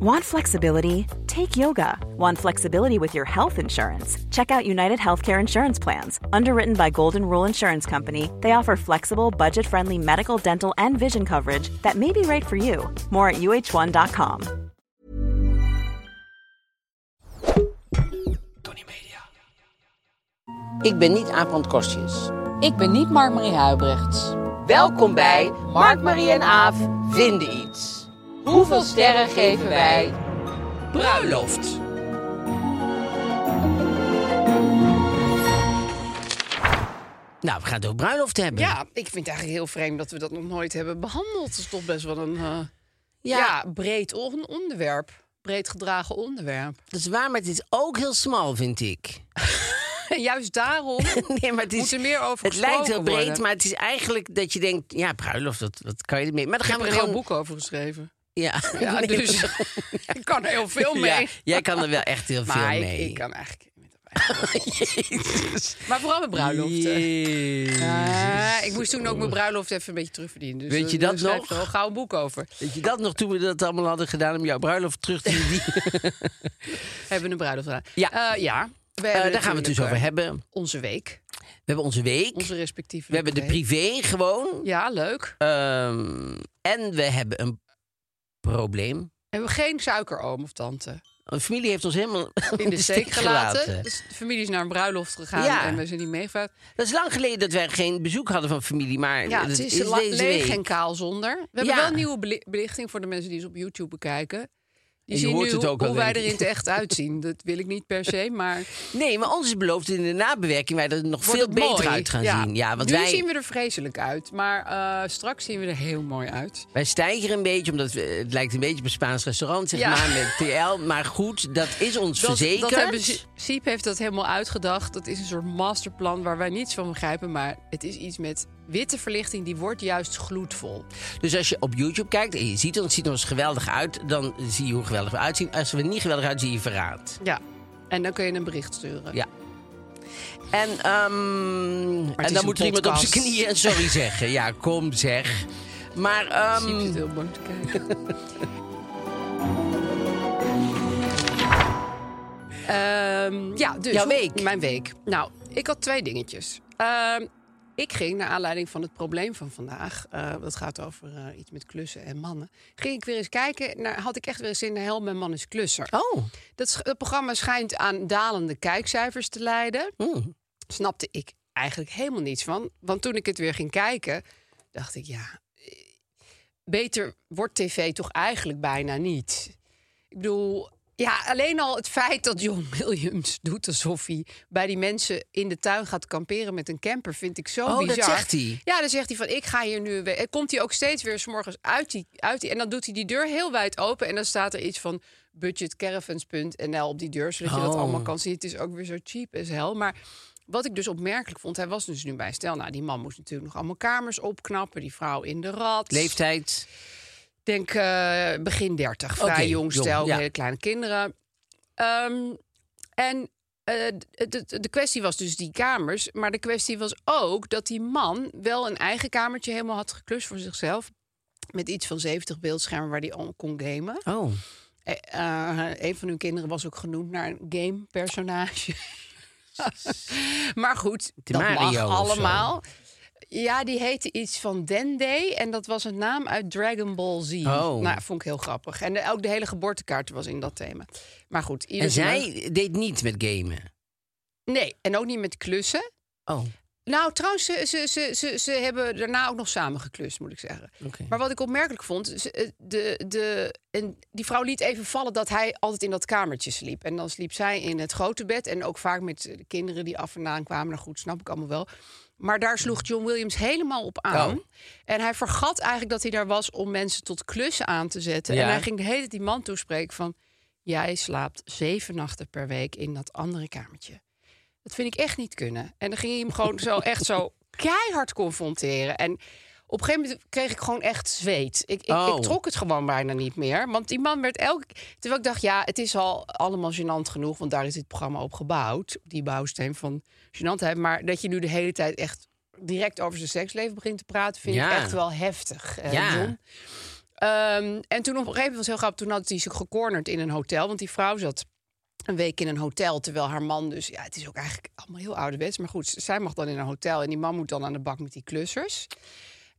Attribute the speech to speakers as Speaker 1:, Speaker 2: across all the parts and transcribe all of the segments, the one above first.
Speaker 1: Want flexibility? Take yoga. Want flexibility with your health insurance? Check out United Healthcare Insurance Plans. Underwritten by Golden Rule Insurance Company, they offer flexible, budget friendly medical, dental, and vision coverage that may be right for you. More at uh1.com.
Speaker 2: Ik ben niet Aaf Kostjes.
Speaker 3: Ik ben niet Mark-Marie Huibrechts.
Speaker 2: Welkom bij Mark, Marie en Aaf vinden iets. Hoeveel sterren geven wij? Bruiloft. Nou, we gaan het over bruiloft hebben.
Speaker 4: Ja, ik vind het eigenlijk heel vreemd dat we dat nog nooit hebben behandeld. Het is toch best wel een eh, ja. breed on- onderwerp. Breed gedragen onderwerp.
Speaker 2: Dat is waar, maar het is ook heel smal, vind ik.
Speaker 4: En juist daarom
Speaker 2: Nee, maar het is,
Speaker 4: moet er meer over
Speaker 2: Het lijkt heel
Speaker 4: gesproken
Speaker 2: breed,
Speaker 4: worden.
Speaker 2: maar het is eigenlijk dat je denkt... Ja, bruiloft, dat, dat kan je ermee. Maar dan
Speaker 4: Ik
Speaker 2: gaan
Speaker 4: heb
Speaker 2: we
Speaker 4: er
Speaker 2: er
Speaker 4: een
Speaker 2: gewoon...
Speaker 4: heel boek over geschreven.
Speaker 2: Ja,
Speaker 4: Ja,
Speaker 2: Nee,
Speaker 4: dus
Speaker 2: dat-
Speaker 4: ik kan er heel veel mee.
Speaker 2: Ja, jij kan er wel echt heel veel
Speaker 4: maar ik-
Speaker 2: mee.
Speaker 4: Ik, kan eigenlijk... met de bruiloft. maar vooral met bruiloften.
Speaker 2: Jezus.
Speaker 4: Ja, ik moest toen ook mijn bruiloft even een beetje terugverdienen. Dus
Speaker 2: Weet je
Speaker 4: daar
Speaker 2: dat
Speaker 4: schrijf
Speaker 2: nog?
Speaker 4: ik wel gauw een boek over.
Speaker 2: Weet je dat nog toen we dat allemaal hadden gedaan om jouw bruiloft terug te verdienen?
Speaker 4: Hebben we een bruiloft gedaan.
Speaker 2: Ja.
Speaker 4: Eh, ja. We
Speaker 2: Eh,
Speaker 4: hebben
Speaker 2: daar gaan we het dus
Speaker 4: natuurlijk,
Speaker 2: over
Speaker 4: eh,
Speaker 2: hebben.
Speaker 4: Onze week.
Speaker 2: We hebben onze week.
Speaker 4: Onze respectieve
Speaker 2: we hebben de
Speaker 4: week.
Speaker 2: privé gewoon.
Speaker 4: Ja, leuk.
Speaker 2: Ehm, en we hebben een probleem.
Speaker 4: Hebben we geen suikeroom of tante
Speaker 2: Een familie heeft ons helemaal
Speaker 4: in de steek gelaten. Dus de familie is naar een bruiloft gegaan
Speaker 2: Ja.
Speaker 4: en we zijn niet meegegaan.
Speaker 2: Dat is lang geleden dat wij geen bezoek hadden van familie. Maar
Speaker 4: Ja,
Speaker 2: dat
Speaker 4: het is,
Speaker 2: is
Speaker 4: la-
Speaker 2: deze
Speaker 4: leeg
Speaker 2: week.
Speaker 4: en kaal zonder. We hebben
Speaker 2: Ja.
Speaker 4: wel een nieuwe beli- belichting voor de mensen die ze op YouTube bekijken. Die
Speaker 2: je
Speaker 4: zien
Speaker 2: hoort
Speaker 4: nu
Speaker 2: het
Speaker 4: hoe-
Speaker 2: ook al,
Speaker 4: hoe wij
Speaker 2: denk
Speaker 4: er
Speaker 2: ik.
Speaker 4: in het echt uitzien. Dat wil ik niet per se, maar
Speaker 2: Nee, maar ons is beloofd in de nabewerking wij er nog
Speaker 4: wordt
Speaker 2: veel
Speaker 4: het
Speaker 2: beter
Speaker 4: mooi.
Speaker 2: uit gaan zien. Ja, want
Speaker 4: nu
Speaker 2: wij,
Speaker 4: zien we er vreselijk uit, maar eh, straks zien we er heel mooi uit.
Speaker 2: wij stijgen een beetje, omdat we, het lijkt een beetje op een Spaans restaurant, zeg
Speaker 4: Ja.
Speaker 2: maar, met TL. Maar goed, dat is ons
Speaker 4: Dat,
Speaker 2: verzekerd.
Speaker 4: dat hebben ze- Siep heeft dat helemaal uitgedacht. Dat is een soort masterplan waar wij niets van begrijpen. Maar het is iets met witte verlichting, die wordt juist gloedvol.
Speaker 2: Dus als je op YouTube kijkt en je ziet ons, het ziet ons geweldig uit, dan zie je hoe geweldig we uitzien. Als we er niet geweldig uitzien, zie je verraad.
Speaker 4: Ja. En dan kun je een bericht sturen.
Speaker 2: Ja. En, ehm,
Speaker 4: is
Speaker 2: en dan
Speaker 4: een
Speaker 2: moet er iemand op zijn
Speaker 4: podcast.
Speaker 2: knieën sorry zeggen. Ja, kom zeg. Maar ehm,
Speaker 4: Siep zit heel bang te kijken. Ehm, ja, dus.
Speaker 2: Jouw week.
Speaker 4: Mijn week. Nou, ik had twee dingetjes. Ehm, ik ging, naar aanleiding van het probleem van vandaag... eh, dat gaat over eh, iets met klussen en mannen... ging ik weer eens kijken, naar, had ik echt weer eens zin... naar Help, mijn man is klusser.
Speaker 2: oh,
Speaker 4: Dat, sch- dat programma schijnt aan dalende kijkcijfers te leiden.
Speaker 2: Hmm.
Speaker 4: Snapte ik eigenlijk helemaal niets van. Want toen ik het weer ging kijken, dacht ik, ja, eh, beter wordt tv toch eigenlijk bijna niet. Ik bedoel, ja, alleen al het feit dat John Williams doet alsof hij bij die mensen in de tuin gaat kamperen met een camper, vind ik zo
Speaker 2: Oh, dat
Speaker 4: bizar.
Speaker 2: zegt hij?
Speaker 4: Ja, dan zegt hij van ik ga hier nu. we- En komt hij ook steeds weer 's morgens uit die, uit die. En dan doet hij die deur heel wijd open. En dan staat er iets van budgetcaravans.nl op die deur. Zodat je dat
Speaker 2: Oh.
Speaker 4: allemaal kan zien. Het is ook weer zo cheap as hell. Maar wat ik dus opmerkelijk vond, hij was dus nu bij stel. Nou, die man moest natuurlijk nog allemaal kamers opknappen. Die vrouw in de rat.
Speaker 2: leeftijd.
Speaker 4: Denk eh, begin 30. Vrij
Speaker 2: Oké,
Speaker 4: jong
Speaker 2: jong,
Speaker 4: stel,
Speaker 2: ja.
Speaker 4: hele kleine kinderen. Ehm, en eh, d- d- de, kwestie was dus die kamers. Maar de kwestie was ook dat die man wel een eigen kamertje helemaal had geklust voor zichzelf. Met iets van 70 beeldschermen waar hij al kon gamen.
Speaker 2: Oh,
Speaker 4: Eh, eh, een van hun kinderen was ook genoemd naar een game-personage. maar goed,
Speaker 2: De
Speaker 4: dat mag
Speaker 2: Mario of zo.
Speaker 4: allemaal. Ja, die heette iets van Dende. En dat was een naam uit Dragon Ball Z.
Speaker 2: Oh.
Speaker 4: Nou, vond ik heel grappig. En de- ook de hele geboortekaart was in dat thema. Maar goed, ieder
Speaker 2: en
Speaker 4: zijn
Speaker 2: zij deed niet met gamen.
Speaker 4: meug- Nee, en ook niet met klussen.
Speaker 2: Oh,
Speaker 4: Nou, trouwens, ze, ze, ze, ze, ze hebben daarna ook nog samen geklust, moet ik zeggen.
Speaker 2: Oké.
Speaker 4: Maar wat ik opmerkelijk vond, ze- eh, de, de, en die vrouw liet even vallen dat hij altijd in dat kamertje sliep. En dan sliep zij in het grote bed en ook vaak met eh, de kinderen die af en aan kwamen. Nou goed, snap ik allemaal wel. Maar daar sloeg John Williams helemaal op aan.
Speaker 2: Oh.
Speaker 4: En hij vergat eigenlijk dat hij daar was om mensen tot klussen aan te zetten.
Speaker 2: Ja.
Speaker 4: En hij ging de hele tijd die man toespreken van... Jij slaapt zeven nachten per week in dat andere kamertje. Dat vind ik echt niet kunnen. En dan ging hij hem gewoon zo echt zo keihard confronteren. En op een gegeven moment kreeg ik gewoon echt zweet. Ik, ik,
Speaker 2: Oh.
Speaker 4: ik trok het gewoon bijna niet meer. Want die man werd elke... Terwijl ik dacht, ja, het is al allemaal gênant genoeg. Want daar is dit programma op gebouwd. op Die bouwsteen van gênantheid. Maar dat je nu de hele tijd echt direct over zijn seksleven begint te praten... vind
Speaker 2: Ja.
Speaker 4: ik echt wel heftig, eh,
Speaker 2: Ja.
Speaker 4: John. Ehm, en toen op een gegeven moment was het heel grappig. Toen had hij zich gecornerd in een hotel. Want die vrouw zat een week in een hotel. Terwijl haar man dus... Ja, het is ook eigenlijk allemaal heel ouderwets. Maar goed, z- zij mag dan in een hotel. En die man moet dan aan de bak met die klussers.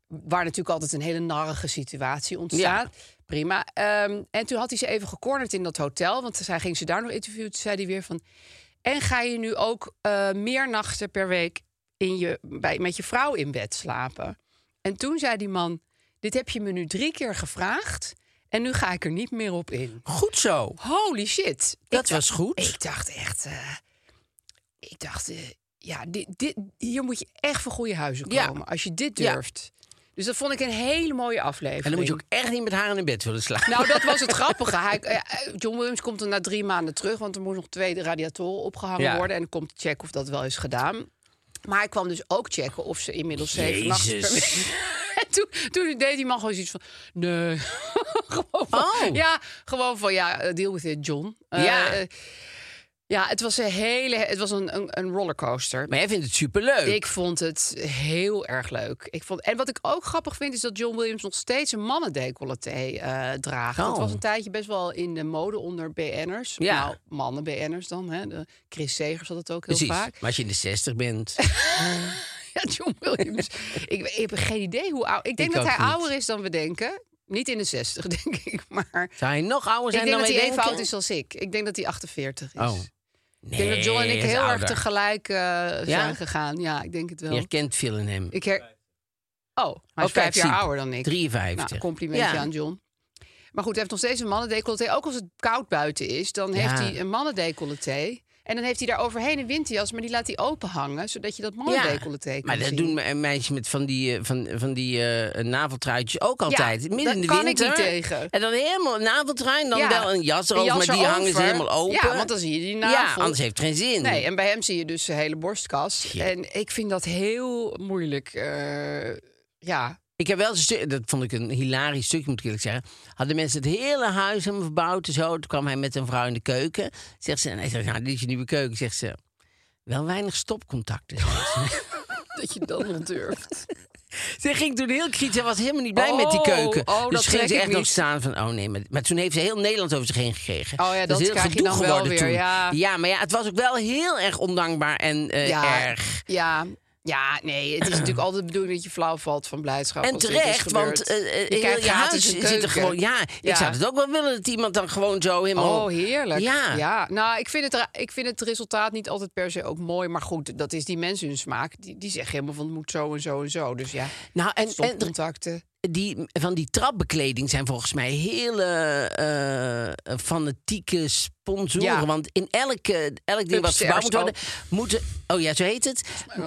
Speaker 4: Waar natuurlijk altijd een hele narrige situatie ontstaat. Prima. Ehm, en toen had hij ze even gecornerd in dat hotel. Want zij ging ze daar nog interviewen. Toen zei hij weer van... En ga je nu ook eh, meer nachten per week in je, bij, met je vrouw in bed slapen? En toen zei die man: Dit heb je me nu drie keer gevraagd. En nu ga ik er niet meer op in.
Speaker 2: Goed zo.
Speaker 4: Holy shit. Ik
Speaker 2: Dat
Speaker 4: dacht-
Speaker 2: was goed.
Speaker 4: Ik dacht echt. eh, ik dacht, eh, ja, dit, dit, hier moet je echt voor goede huizen
Speaker 2: Ja.
Speaker 4: komen. Als je dit
Speaker 2: Ja.
Speaker 4: durft. Dus dat vond ik een hele mooie aflevering.
Speaker 2: En dan moet je ook echt niet met haar in bed willen slapen.
Speaker 4: Nou, dat was het grappige. Hij, eh, eh, John Williams komt er na drie maanden terug, want er moest nog twee radiatoren opgehangen
Speaker 2: Ja.
Speaker 4: worden. En dan komt checken of dat wel is gedaan. Maar hij kwam dus ook checken of ze inmiddels zeven nachten per
Speaker 2: Jezus.
Speaker 4: week- En toen, toen deed die man gewoon zoiets van... Nee. gewoon van,
Speaker 2: Oh.
Speaker 4: Ja, gewoon van, ja, eh, deal with it, John. Eh,
Speaker 2: Ja.
Speaker 4: eh, ja, het was een hele... Het was een, een, een rollercoaster.
Speaker 2: Maar jij vindt het superleuk.
Speaker 4: Ik vond het heel erg leuk. Ik vond, en wat ik ook grappig vind, is dat John Williams nog steeds een mannendecolleté eh draagt.
Speaker 2: Oh.
Speaker 4: Dat was een tijdje best wel in de mode onder BN'ers.
Speaker 2: Ja.
Speaker 4: Nou, mannen BN'ers dan. Hè. De Chris Segers had het ook heel
Speaker 2: Precies. Maar
Speaker 4: vaak.
Speaker 2: als je in de 60 bent.
Speaker 4: Ja, John Williams. ik, ik heb geen idee hoe oud... Ik denk
Speaker 2: Ik
Speaker 4: dat
Speaker 2: ook
Speaker 4: hij
Speaker 2: niet.
Speaker 4: ouder is dan we denken. Niet in de 60, denk ik, maar...
Speaker 2: Zou hij nog ouder
Speaker 4: Ik
Speaker 2: zijn
Speaker 4: denk dat
Speaker 2: dan
Speaker 4: hij
Speaker 2: wij
Speaker 4: even
Speaker 2: denken?
Speaker 4: oud is als ik. Ik denk dat hij 48 is.
Speaker 2: Oh.
Speaker 4: Ik denk dat John en
Speaker 2: Nee,
Speaker 4: ik
Speaker 2: hij is
Speaker 4: heel erg
Speaker 2: ouder.
Speaker 4: tegelijk eh, zijn gegaan. Ja, ik denk het wel.
Speaker 2: Je herkent veel in hem.
Speaker 4: Ik her... Oh, hij is
Speaker 2: Oh, kijk,
Speaker 4: vijf jaar
Speaker 2: zie.
Speaker 4: ouder dan ik.
Speaker 2: 53.
Speaker 4: Nou, complimentje
Speaker 2: Ja.
Speaker 4: aan John. Maar goed, hij heeft nog steeds een mannendecolleté. Ook als het koud buiten is, dan
Speaker 2: Ja.
Speaker 4: heeft hij een mannendecolleté. En dan heeft hij daar overheen een winterjas, maar die laat hij open hangen, zodat je dat mannendecolleté kan
Speaker 2: maar dat
Speaker 4: zien.
Speaker 2: doen me- meisjes met van die, eh, van, van die eh, naveltruitjes ook altijd. Midden
Speaker 4: daar
Speaker 2: in de
Speaker 4: kan ik
Speaker 2: winter.
Speaker 4: niet tegen.
Speaker 2: En dan helemaal een naveltrui, dan
Speaker 4: Ja,
Speaker 2: wel een jas erover,
Speaker 4: jas
Speaker 2: maar die hangen ze
Speaker 4: erover.
Speaker 2: helemaal open.
Speaker 4: Ja, want dan zie je die navel.
Speaker 2: Ja, anders heeft het geen zin.
Speaker 4: Nee, en bij hem zie je dus zijn hele borstkas.
Speaker 2: Ja.
Speaker 4: En ik vind dat heel moeilijk. eh, ja,
Speaker 2: Ik heb wel eens een stuk, dat vond ik een hilarisch stukje, moet ik eerlijk zeggen. Hadden mensen het hele huis hem verbouwd en zo. Toen kwam hij met zijn vrouw in de keuken. Zegt ze, en hij zegt, nou, dit is je nieuwe keuken. Zegt ze, wel weinig stopcontacten. zegt ze.
Speaker 4: dat je dat nog durft.
Speaker 2: ze ging toen heel kritisch, ze was helemaal niet blij met die
Speaker 4: Oh,
Speaker 2: keuken.
Speaker 4: oh, dat
Speaker 2: dus ging
Speaker 4: trek
Speaker 2: ze
Speaker 4: ik
Speaker 2: echt nog
Speaker 4: niet.
Speaker 2: staan van, oh nee. Maar, maar toen heeft ze heel Nederland over zich heen gekregen.
Speaker 4: Oh ja,
Speaker 2: is
Speaker 4: dat
Speaker 2: heel
Speaker 4: krijg je
Speaker 2: gedoe
Speaker 4: dan wel
Speaker 2: geworden
Speaker 4: weer,
Speaker 2: toen.
Speaker 4: ja.
Speaker 2: maar ja, het was ook wel heel erg ondankbaar en eh, erg.
Speaker 4: Ja, ja, nee, het is natuurlijk altijd de bedoeling dat je flauw valt van blijdschap.
Speaker 2: En
Speaker 4: als dit is
Speaker 2: terecht,
Speaker 4: gebeurd.
Speaker 2: want eh, eh,
Speaker 4: je
Speaker 2: heel
Speaker 4: krijgt
Speaker 2: je
Speaker 4: gratis
Speaker 2: huis
Speaker 4: een
Speaker 2: zit er
Speaker 4: keuken.
Speaker 2: gewoon... Ja, ik zou het ook wel willen dat iemand dan gewoon zo helemaal...
Speaker 4: Oh, heerlijk.
Speaker 2: Ja.
Speaker 4: Nou, ik vind, het, ra- ik vind het resultaat niet altijd per se ook mooi. Maar goed, dat is die mensen hun smaak. Die, die zeggen helemaal van het moet zo en zo en zo. Dus ja,
Speaker 2: Nou, en, en er-
Speaker 4: stopcontacten.
Speaker 2: die, van die trapbekleding zijn volgens mij hele eh, fanatieke sponsoren.
Speaker 4: Ja.
Speaker 2: Want in elke, elk ding wat
Speaker 4: Upstairs
Speaker 2: verbouwd moet worden,
Speaker 4: ook.
Speaker 2: moeten, oh ja, zo heet het,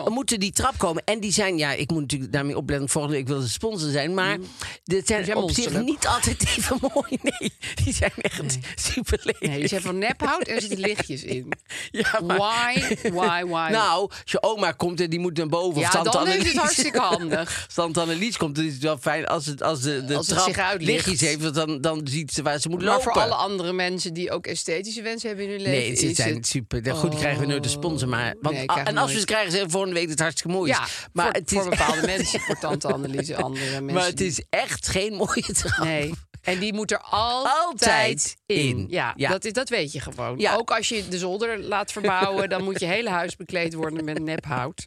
Speaker 2: moeten die trap komen. En die zijn, ja, ik moet natuurlijk daarmee opletten, volgende week wil ze sponsor zijn, maar dit zijn,
Speaker 4: Mm. zijn
Speaker 2: op zich
Speaker 4: monsterlijk.
Speaker 2: niet altijd even mooi. Nee, die zijn echt super lelijk.
Speaker 4: Nee, die zijn van nephout en er zitten lichtjes in.
Speaker 2: Ja, maar-
Speaker 4: Why, why, why?
Speaker 2: Nou, als je oma komt en die moet naar boven.
Speaker 4: Ja,
Speaker 2: of tante
Speaker 4: dan is het
Speaker 2: Annelies.
Speaker 4: hartstikke handig.
Speaker 2: Als tante Annelies komt, dan is het wel fijn als, het, als de, de
Speaker 4: Als het
Speaker 2: trap
Speaker 4: zich uitlicht.
Speaker 2: lichtjes heeft. Want dan, dan ziet ze waar ze moet
Speaker 4: maar
Speaker 2: lopen.
Speaker 4: voor alle andere mensen die ook esthetische wensen hebben in hun leven.
Speaker 2: Nee, ze
Speaker 4: is
Speaker 2: zijn
Speaker 4: het-
Speaker 2: super. Ja, Goed, die krijgen we nooit de sponsor. Maar, want,
Speaker 4: Nee, ik krijg
Speaker 2: en als
Speaker 4: nooit.
Speaker 2: we ze krijgen, ze volgende week het hartstikke mooi.
Speaker 4: Ja,
Speaker 2: is. maar
Speaker 4: voor,
Speaker 2: het
Speaker 4: voor
Speaker 2: is
Speaker 4: bepaalde
Speaker 2: echt-
Speaker 4: mensen. Voor tante Annelies, andere mensen.
Speaker 2: Maar het
Speaker 4: die-
Speaker 2: is echt geen mooie trap.
Speaker 4: Nee. En die moet er altijd,
Speaker 2: Altijd in.
Speaker 4: in. Ja,
Speaker 2: Ja.
Speaker 4: Dat, is, dat weet je gewoon.
Speaker 2: Ja.
Speaker 4: Ook als je de zolder laat verbouwen, dan moet je hele huis bekleed worden met nephout.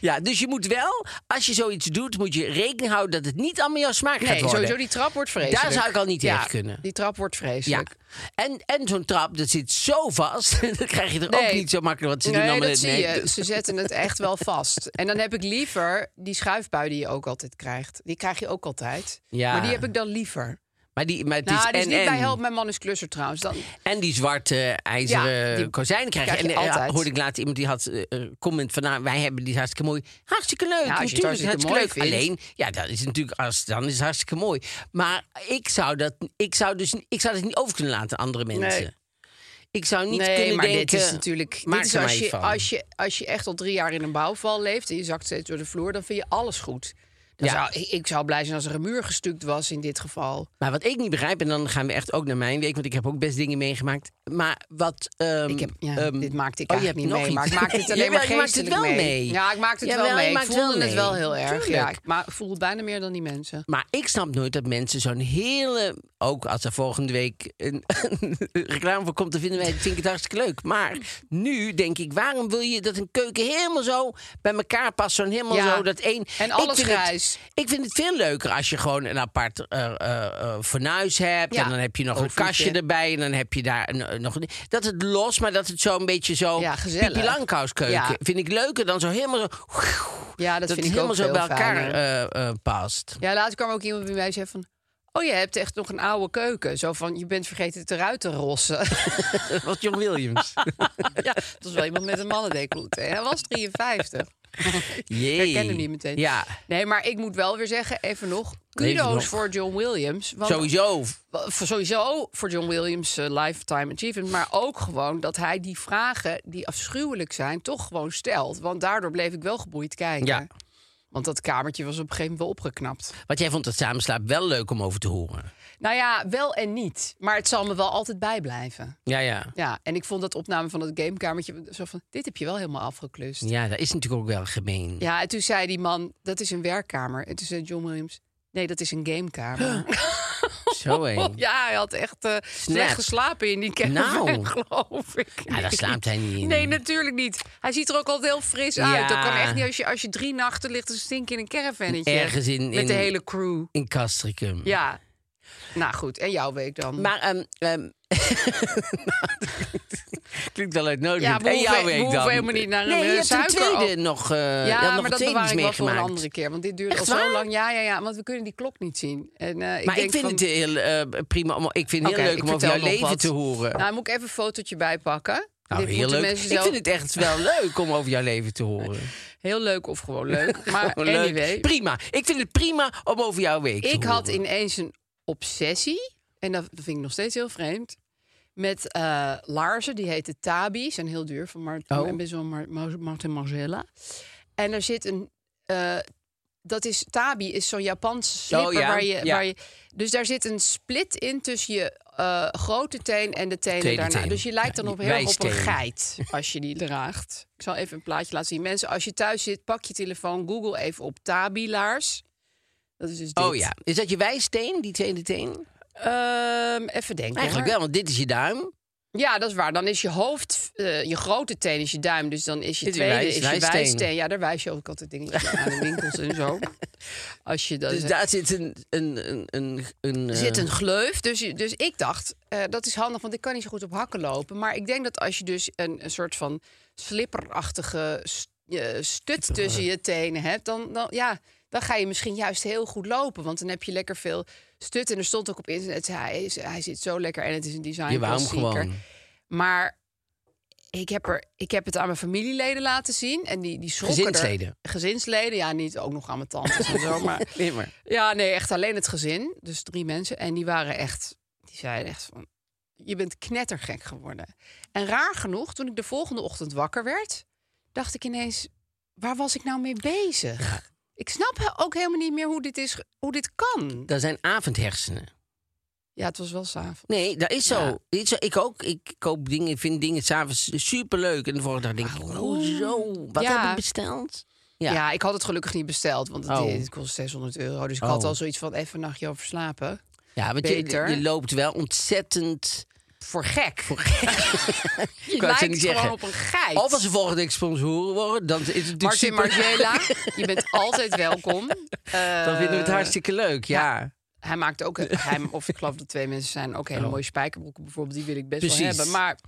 Speaker 2: Ja, dus je moet wel, als je zoiets doet, moet je rekening houden dat het niet allemaal jouw smaak gaat
Speaker 4: Nee,
Speaker 2: worden.
Speaker 4: sowieso die trap wordt vreselijk.
Speaker 2: Daar zou ik al niet
Speaker 4: ja,
Speaker 2: tegen kunnen.
Speaker 4: Die trap wordt
Speaker 2: Ja.
Speaker 4: vreselijk.
Speaker 2: En, en zo'n trap, dat zit zo vast. dat krijg je er ook
Speaker 4: Nee.
Speaker 2: niet zo makkelijk. Want ze doen
Speaker 4: Nee,
Speaker 2: allemaal
Speaker 4: dat
Speaker 2: net-
Speaker 4: zie
Speaker 2: nee,
Speaker 4: je.
Speaker 2: dus-
Speaker 4: Ze zetten het echt wel vast. En dan heb ik liever die schuifbui die je ook altijd krijgt. Die krijg je ook altijd.
Speaker 2: Ja.
Speaker 4: Maar die heb ik dan liever.
Speaker 2: Maar, die, maar het
Speaker 4: nou, die
Speaker 2: is
Speaker 4: is
Speaker 2: en,
Speaker 4: niet
Speaker 2: en,
Speaker 4: bij Help Mijn Man is Klusser trouwens. Dan,
Speaker 2: en die zwarte ijzeren
Speaker 4: Ja, die
Speaker 2: kozijnen krijg je.
Speaker 4: krijg je
Speaker 2: en eh,
Speaker 4: altijd.
Speaker 2: hoorde ik laatst iemand die had eh, eh, comment van... Nou, wij hebben die hartstikke mooi. Hartstikke leuk.
Speaker 4: Ja, als je het
Speaker 2: natuurlijk,
Speaker 4: hartstikke mooi
Speaker 2: leuk. Alleen, ja, dat is natuurlijk, als, dan is het hartstikke mooi. Maar ik zou, dat, ik zou, dus, ik zou dat niet over kunnen laten aan andere mensen.
Speaker 4: Nee.
Speaker 2: Ik zou niet
Speaker 4: nee,
Speaker 2: kunnen
Speaker 4: maar
Speaker 2: denken...
Speaker 4: dit is natuurlijk...
Speaker 2: maak
Speaker 4: Dit is
Speaker 2: er maar
Speaker 4: als,
Speaker 2: iets
Speaker 4: je,
Speaker 2: van.
Speaker 4: als, je, als je echt al drie jaar in een bouwval leeft... en je zakt steeds door de vloer, dan vind je alles goed. Dan
Speaker 2: Ja.
Speaker 4: zou, ik- ik zou blij zijn als er een muur gestuukt was in dit geval.
Speaker 2: Maar wat ik niet begrijp, en dan gaan we echt ook naar mijn week... want ik heb ook best dingen meegemaakt. Maar wat... ehm,
Speaker 4: Ik heb, ja,
Speaker 2: ehm,
Speaker 4: dit maakte ik
Speaker 2: oh, je
Speaker 4: eigenlijk
Speaker 2: hebt
Speaker 4: niet
Speaker 2: nog
Speaker 4: mee. Maar ik
Speaker 2: iets.
Speaker 4: maakte het alleen maar
Speaker 2: Jawel, je maakt het
Speaker 4: geestelijk
Speaker 2: wel mee.
Speaker 4: Ja, ik maakte het
Speaker 2: Jawel,
Speaker 4: wel
Speaker 2: je
Speaker 4: mee. Ik
Speaker 2: maakt het
Speaker 4: voelde
Speaker 2: wel
Speaker 4: het wel heel
Speaker 2: mee.
Speaker 4: erg. Ja,
Speaker 2: Tuurlijk.
Speaker 4: ik ma- ik voel het bijna meer dan die mensen.
Speaker 2: Maar ik snap nooit dat mensen zo'n hele... Ook als er volgende week een reclame voor komt, dan vinden wij, vind ik het hartstikke leuk. Maar nu denk ik, waarom wil je dat een keuken helemaal zo bij elkaar past? Zo'n helemaal
Speaker 4: Ja.
Speaker 2: zo, dat één...
Speaker 4: En
Speaker 2: Ik
Speaker 4: alles
Speaker 2: vind het-
Speaker 4: grijs.
Speaker 2: ik vind het veel leuker als je gewoon een apart eh, eh, eh, fornuis hebt.
Speaker 4: Ja.
Speaker 2: En dan heb je nog
Speaker 4: Oventje.
Speaker 2: een kastje erbij. En dan heb je daar een- een- nog... een- Dat het los, maar dat het zo een beetje zo...
Speaker 4: Ja, gezellig.
Speaker 2: Pippi Langkouskeuken.
Speaker 4: Ja,
Speaker 2: Vind ik leuker dan zo helemaal zo... dat
Speaker 4: Ja, dat, vind
Speaker 2: het
Speaker 4: ik
Speaker 2: helemaal
Speaker 4: ook
Speaker 2: zo
Speaker 4: veel
Speaker 2: bij elkaar
Speaker 4: fijner.
Speaker 2: eh, eh, past.
Speaker 4: Ja, later kwam ook iemand bij mij en zei van... Oh, je hebt echt nog een oude keuken. Zo van, je bent vergeten het eruit te rossen.
Speaker 2: Wat John Williams.
Speaker 4: ja, dat was wel iemand met een mannendecouleté. Hij was 53.
Speaker 2: Jee.
Speaker 4: Ik herken hem niet meteen.
Speaker 2: Ja,
Speaker 4: Nee, maar ik moet wel weer zeggen, even nog...
Speaker 2: Leeft
Speaker 4: Kudos
Speaker 2: nog.
Speaker 4: voor John Williams. Want
Speaker 2: sowieso.
Speaker 4: Wel, voor- sowieso voor John Williams' eh, lifetime achievement, maar ook gewoon dat hij die vragen die afschuwelijk zijn toch gewoon stelt, want daardoor bleef ik wel geboeid kijken.
Speaker 2: Ja.
Speaker 4: Want dat kamertje was op een gegeven moment wel opgeknapt.
Speaker 2: Want jij vond het samenslaap wel leuk om over te horen.
Speaker 4: Nou ja, wel en niet. Maar het zal me wel altijd bijblijven.
Speaker 2: Ja, ja.
Speaker 4: Ja, en ik vond dat opname van dat gamekamertje zo van... dit heb je wel helemaal afgeklust.
Speaker 2: Ja, dat is natuurlijk ook wel gemeen.
Speaker 4: Ja, en toen zei die man, dat is een werkkamer. En toen zei John Williams, nee, dat is een gamekamer.
Speaker 2: Zo hé.
Speaker 4: Oh, Ja, hij had echt eh slecht geslapen in die camper,
Speaker 2: Nou.
Speaker 4: geloof ik.
Speaker 2: Ja, daar slaapt hij niet in.
Speaker 4: Nee, natuurlijk niet. Hij ziet er ook altijd heel fris uit. Dat
Speaker 2: Ja.
Speaker 4: kan echt niet als je, als je drie nachten ligt te stinken in een caravannetje.
Speaker 2: Ergens in-
Speaker 4: Met
Speaker 2: in-
Speaker 4: de hele crew.
Speaker 2: In Castricum.
Speaker 4: Ja. Nou goed, en jouw week dan?
Speaker 2: Maar, ehm... ehm, Klinkt wel
Speaker 4: Ja,
Speaker 2: uitnodigend.
Speaker 4: we
Speaker 2: en jouw
Speaker 4: hoeven- we
Speaker 2: week dan?
Speaker 4: hoeven helemaal niet naar een,
Speaker 2: Nee,
Speaker 4: eh,
Speaker 2: je hebt een
Speaker 4: suiker-
Speaker 2: tweede nog, eh je had
Speaker 4: ja,
Speaker 2: nog
Speaker 4: maar dat
Speaker 2: twee
Speaker 4: bewaar
Speaker 2: iets
Speaker 4: ik wel voor een
Speaker 2: meegemaakt.
Speaker 4: andere keer. Want dit duurt
Speaker 2: Echt
Speaker 4: al zo
Speaker 2: waar?
Speaker 4: lang. Ja, ja, ja. Want we kunnen die klok niet zien. En, eh,
Speaker 2: Maar ik,
Speaker 4: denk
Speaker 2: vind
Speaker 4: van-
Speaker 2: het heel eh, prima. Om, ik vind het
Speaker 4: Oké,
Speaker 2: heel leuk
Speaker 4: ik
Speaker 2: om over
Speaker 4: vertel
Speaker 2: jouw
Speaker 4: nog
Speaker 2: leven
Speaker 4: wat.
Speaker 2: te horen.
Speaker 4: Nou, moet ik even een fotootje bijpakken.
Speaker 2: Nou,
Speaker 4: Dit
Speaker 2: heel
Speaker 4: moeten
Speaker 2: leuk.
Speaker 4: mensen
Speaker 2: Ik
Speaker 4: zelf-
Speaker 2: vind het echt wel leuk om over jouw leven te horen.
Speaker 4: Heel leuk of gewoon leuk. Maar
Speaker 2: Gewoon Oh, leuk.
Speaker 4: anyway.
Speaker 2: Prima. Ik vind het prima om over jouw week te
Speaker 4: Ik
Speaker 2: horen.
Speaker 4: had ineens een obsessie, en dat dat vind ik nog steeds heel vreemd, met eh, laarzen. Die heten Tabi, zijn heel duur van Martin,
Speaker 2: Oh.
Speaker 4: best wel Mar- Mar- Martin Margiela. En er zit een... eh, dat is Tabi, is zo'n Japanse slipper
Speaker 2: Oh, ja,
Speaker 4: waar, je,
Speaker 2: ja.
Speaker 4: waar je... Dus daar zit een split in tussen je eh, grote teen en de tenen
Speaker 2: Tweede
Speaker 4: daarna.
Speaker 2: teen.
Speaker 4: Dus je lijkt dan
Speaker 2: Ja,
Speaker 4: op heel erg op een
Speaker 2: wijsteen.
Speaker 4: geit als je die draagt. Ik zal even een plaatje laten zien. Mensen, als je thuis zit, pak je telefoon, google even op Tabi-laars. Dat is dus dit.
Speaker 2: Oh ja. Is dat je wijsteen, die tweede teen?
Speaker 4: Ehm, even denken.
Speaker 2: Eigenlijk wel,
Speaker 4: hoor.
Speaker 2: want dit is je duim.
Speaker 4: Ja, dat is waar. Dan is je hoofd, eh, je grote teen is je duim. Dus dan is je
Speaker 2: Is je
Speaker 4: tweede
Speaker 2: wijs-
Speaker 4: is je
Speaker 2: wijssteen.
Speaker 4: wijsteen. Ja, daar wijs je ook altijd dingetjes aan in winkels en zo. Als je dat
Speaker 2: Dus daar zit een... een, een, een, een eh,
Speaker 4: Er zit een gleuf. Dus, je- dus ik dacht, eh, dat is handig, want ik kan niet zo goed op hakken lopen. Maar ik denk dat als je dus een, een soort van slipperachtige st- eh, stut tussen je tenen hebt, dan, dan, ja, dan ga je misschien juist heel goed lopen. Want dan heb je lekker veel stut. En er stond ook op internet, hij, is, hij zit zo lekker en het is een design
Speaker 2: je wou hem
Speaker 4: klassieker.
Speaker 2: gewoon.
Speaker 4: Maar ik heb, er, ik heb het aan mijn familieleden laten zien. En die, die schrokken er-
Speaker 2: Gezinsleden.
Speaker 4: Gezinsleden, ja, niet ook nog aan mijn tantes en zo. Maar
Speaker 2: Nee, maar.
Speaker 4: ja, nee, echt alleen het gezin. Dus drie mensen. En die waren echt, die zeiden echt van, je bent knettergek geworden. En raar genoeg, toen ik de volgende ochtend wakker werd, dacht ik ineens, waar was ik nou mee bezig? Ik snap he- ook helemaal niet meer hoe dit, is, ge- hoe dit kan.
Speaker 2: Dat zijn avondhersenen.
Speaker 4: Ja, het was wel s'avonds.
Speaker 2: Nee, dat is zo.
Speaker 4: Ja.
Speaker 2: Dit is zo. Ik ook. Ik koop dingen, vind dingen s'avonds superleuk. En de volgende dag denk ik, oh zo, wat
Speaker 4: Ja.
Speaker 2: heb ik besteld?
Speaker 4: Ja.
Speaker 2: Ja.
Speaker 4: ik had het gelukkig niet besteld, want het,
Speaker 2: Oh.
Speaker 4: het kost 600 euro. Dus ik
Speaker 2: Oh.
Speaker 4: had al zoiets van even een nachtje over slapen.
Speaker 2: Ja, want je,
Speaker 4: Beter.
Speaker 2: je loopt wel ontzettend...
Speaker 4: Voor gek. je
Speaker 2: wou het
Speaker 4: lijkt
Speaker 2: niet
Speaker 4: gewoon
Speaker 2: zeggen.
Speaker 4: op een geit.
Speaker 2: Of als ze volgende week sponsoren worden, dan is het natuurlijk
Speaker 4: Martin
Speaker 2: super...
Speaker 4: Margiela, je bent altijd welkom.
Speaker 2: Dan vinden we het
Speaker 4: Eh,
Speaker 2: hartstikke leuk, ja.
Speaker 4: Hij maakt ook, hij, of ik geloof dat twee mensen zijn, ook hele mooie spijkerbroeken bijvoorbeeld. Die wil ik best wel
Speaker 2: Oh. Precies.
Speaker 4: hebben. Maar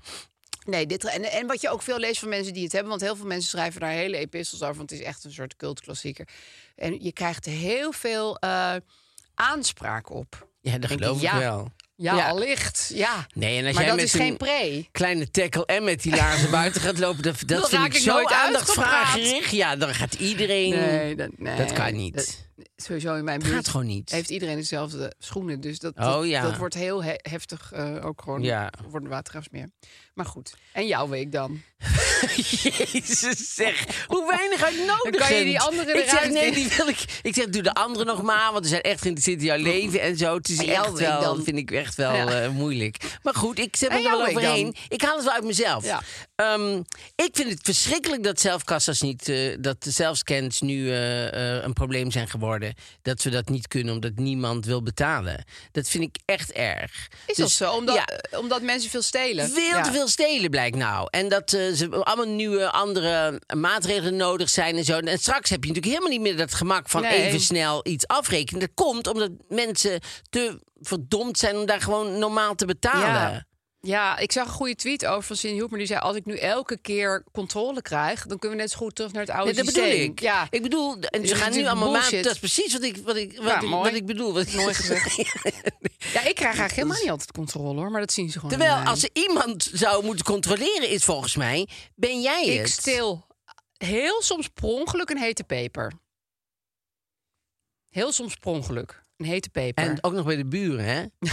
Speaker 4: nee, dit, en, en wat je ook veel leest van mensen die het hebben, want heel veel mensen schrijven daar hele epistels over, want het is echt een soort cultklassieker. En je krijgt heel veel eh, aanspraak op.
Speaker 2: Ja, dat
Speaker 4: Denk ik,
Speaker 2: geloof ik
Speaker 4: ja.
Speaker 2: wel.
Speaker 4: Ja,
Speaker 2: Ja.
Speaker 4: allicht. Ja.
Speaker 2: Nee, en als
Speaker 4: maar
Speaker 2: jij
Speaker 4: dat
Speaker 2: met
Speaker 4: is
Speaker 2: een-
Speaker 4: geen pre.
Speaker 2: kleine tackle en met die laarzen buiten gaat lopen. Dat, dat
Speaker 4: Dan
Speaker 2: vind
Speaker 4: raak
Speaker 2: ik
Speaker 4: ik
Speaker 2: zo
Speaker 4: nooit
Speaker 2: aandachtvraaggerig. Ja, dan gaat iedereen...
Speaker 4: Nee, dat, nee,
Speaker 2: dat kan niet.
Speaker 4: dat- Sowieso in mijn
Speaker 2: Het
Speaker 4: buurt
Speaker 2: gaat gewoon niet.
Speaker 4: heeft iedereen dezelfde schoenen. Dus dat,
Speaker 2: Oh,
Speaker 4: dat,
Speaker 2: ja.
Speaker 4: dat wordt heel he- heftig eh, ook gewoon
Speaker 2: Ja.
Speaker 4: voor de watergraafsmeer. Maar goed, en jouw week dan?
Speaker 2: Jezus zeg, hoe weinig uitnodigend.
Speaker 4: Dan kan je die andere
Speaker 2: Ik zeg,
Speaker 4: eruit
Speaker 2: nee,
Speaker 4: knippen.
Speaker 2: die wil ik. Ik zeg, doe de andere nog maar, want ze zijn echt geïnteresseerd in jouw leven en zo. Het is
Speaker 4: En jouw
Speaker 2: echt
Speaker 4: week
Speaker 2: wel,
Speaker 4: dan?
Speaker 2: vind ik echt wel
Speaker 4: Ja.
Speaker 2: eh, moeilijk. Maar goed, ik zet
Speaker 4: En
Speaker 2: me er
Speaker 4: jouw
Speaker 2: wel
Speaker 4: week
Speaker 2: overheen.
Speaker 4: dan?
Speaker 2: Ik haal het wel uit mezelf.
Speaker 4: Ja.
Speaker 2: Ehm, ik vind het verschrikkelijk dat zelfkassas niet, eh, dat de zelfscans nu eh, eh, een probleem zijn geworden. Dat we dat niet kunnen, omdat niemand wil betalen. Dat vind ik echt erg.
Speaker 4: Is
Speaker 2: Dus-
Speaker 4: dat zo? Omdat,
Speaker 2: ja.
Speaker 4: eh, omdat mensen veel stelen.
Speaker 2: Veel
Speaker 4: Ja.
Speaker 2: te veel stelen blijkt nou. En dat eh, ze allemaal nieuwe, andere maatregelen nodig zijn en zo. En straks heb je natuurlijk helemaal niet meer dat gemak van
Speaker 4: Nee.
Speaker 2: even snel iets afrekenen. Dat komt omdat mensen te verdomd zijn om daar gewoon normaal te betalen.
Speaker 4: Ja. Ja, ik zag een goede tweet over van Sien Hoepmer. Die zei, als ik nu elke keer controle krijg... dan kunnen we net zo goed terug naar het oude
Speaker 2: Nee, dat bedoel
Speaker 4: oh, systeem.
Speaker 2: ik.
Speaker 4: Ja.
Speaker 2: Ik bedoel, en
Speaker 4: Dit
Speaker 2: ze
Speaker 4: is
Speaker 2: gaan nu
Speaker 4: natuurlijk
Speaker 2: allemaal maat.
Speaker 4: bullshit.
Speaker 2: Dat is precies wat ik, wat ik, wat
Speaker 4: Ja,
Speaker 2: ik,
Speaker 4: mooi.
Speaker 2: wat ik bedoel. Wat ik
Speaker 4: Mooi ja, ik krijg eigenlijk helemaal niet altijd controle, hoor. Maar dat zien ze gewoon eh,
Speaker 2: Terwijl
Speaker 4: aan mij.
Speaker 2: als er iemand zou moeten controleren, is volgens mij, ben jij
Speaker 4: Ik
Speaker 2: het?
Speaker 4: stil heel soms per ongeluk een hete peper. Heel soms per ongeluk een hete peper.
Speaker 2: En ook nog bij de buren, hè?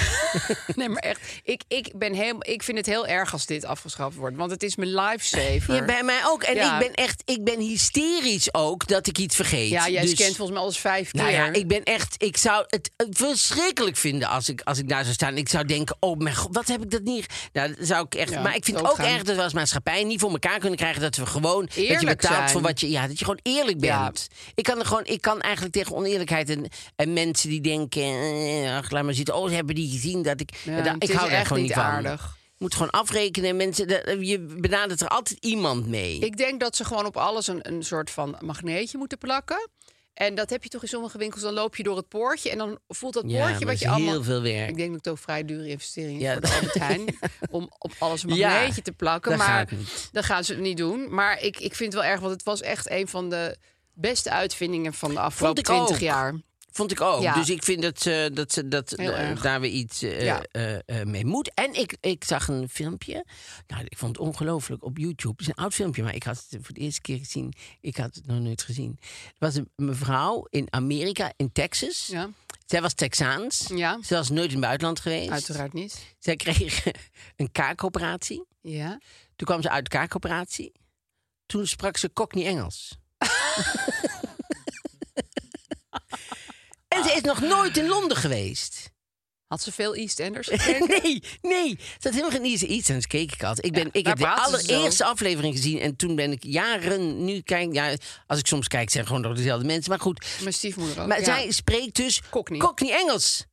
Speaker 4: Nee, maar echt, ik, ik, ben helemaal, ik vind het heel erg als dit afgeschaft wordt. Want het is mijn lifesaver.
Speaker 2: Ja, bij mij ook. En
Speaker 4: Ja.
Speaker 2: ik ben echt, ik ben hysterisch ook dat ik iets vergeet.
Speaker 4: ja jij
Speaker 2: Dus-
Speaker 4: scant volgens mij alles vijf keer.
Speaker 2: Nou ja, ik ben echt, ik zou het eh, verschrikkelijk vinden als ik, als ik daar zou staan. Ik zou denken, oh mijn god, wat heb ik dat niet? ge- Nou, dat zou ik echt.
Speaker 4: Ja,
Speaker 2: maar ik vind het ook
Speaker 4: doodgaan.
Speaker 2: erg dat we als maatschappij niet voor elkaar kunnen krijgen dat we gewoon dat je
Speaker 4: Eerlijk
Speaker 2: betaalt
Speaker 4: zijn.
Speaker 2: voor wat je, ja, dat je gewoon eerlijk
Speaker 4: Ja.
Speaker 2: bent. Ik kan er gewoon, ik kan eigenlijk tegen oneerlijkheid en, en mensen die denken, eh, ach, laat maar zitten. Oh, ze hebben die gezien dat ik,
Speaker 4: Ja,
Speaker 2: ja, daar-
Speaker 4: het
Speaker 2: ik
Speaker 4: is
Speaker 2: hou daar
Speaker 4: echt
Speaker 2: gewoon
Speaker 4: niet
Speaker 2: niet van.
Speaker 4: aardig.
Speaker 2: Je moet gewoon afrekenen. Mensen, dat- je benadert er altijd iemand mee.
Speaker 4: Ik denk dat ze gewoon op alles een, een soort van magneetje moeten plakken. En dat heb je toch in sommige winkels. Dan loop je door het poortje en dan voelt dat
Speaker 2: Ja, maar
Speaker 4: poortje wat je
Speaker 2: dat is
Speaker 4: allemaal...
Speaker 2: heel veel werk.
Speaker 4: Ik denk dat het ook vrij dure investering is
Speaker 2: Ja,
Speaker 4: voor de
Speaker 2: dat-
Speaker 4: Albert Heijn. Om op alles een
Speaker 2: Ja,
Speaker 4: magneetje te plakken.
Speaker 2: dat
Speaker 4: maar
Speaker 2: gaat niet.
Speaker 4: dat gaan ze niet doen. Maar ik, ik vind het wel erg, want het was echt een van de beste uitvindingen van de afgelopen
Speaker 2: ik ook.
Speaker 4: 20 jaar.
Speaker 2: Vond ik ook.
Speaker 4: Ja.
Speaker 2: Dus ik vind dat, ze dat, ze dat
Speaker 4: Heel
Speaker 2: eh,
Speaker 4: erg.
Speaker 2: daar weer iets eh,
Speaker 4: Ja.
Speaker 2: eh, eh, mee moet. En ik, ik zag een filmpje. Nou, ik vond het ongelooflijk op YouTube. Het is een oud filmpje, maar ik had het voor de eerste keer gezien. Ik had het nog nooit gezien. Er was een mevrouw in Amerika, in Texas.
Speaker 4: Ja.
Speaker 2: Zij was Texaans.
Speaker 4: Ja.
Speaker 2: Ze was nooit in het buitenland geweest.
Speaker 4: Uiteraard niet.
Speaker 2: Zij kreeg een kaakoperatie.
Speaker 4: Ja.
Speaker 2: Toen kwam ze uit de kaakoperatie. Toen sprak ze Cockney Engels. en ze is nog nooit in Londen geweest.
Speaker 4: Had ze veel EastEnders gekeken?
Speaker 2: Nee, nee. Ze had helemaal geen Easy Eats. En dat keek ik altijd. Ik, ben, ik
Speaker 4: daar
Speaker 2: heb de
Speaker 4: praten ze zo.
Speaker 2: allereerste aflevering gezien. En toen ben ik jaren... Nu kijk... Ja, als ik soms kijk, zijn het gewoon nog dezelfde mensen. Maar goed.
Speaker 4: Mijn stiefmoeder ook.
Speaker 2: Maar
Speaker 4: ja.
Speaker 2: zij spreekt dus
Speaker 4: Cockney.
Speaker 2: Engels.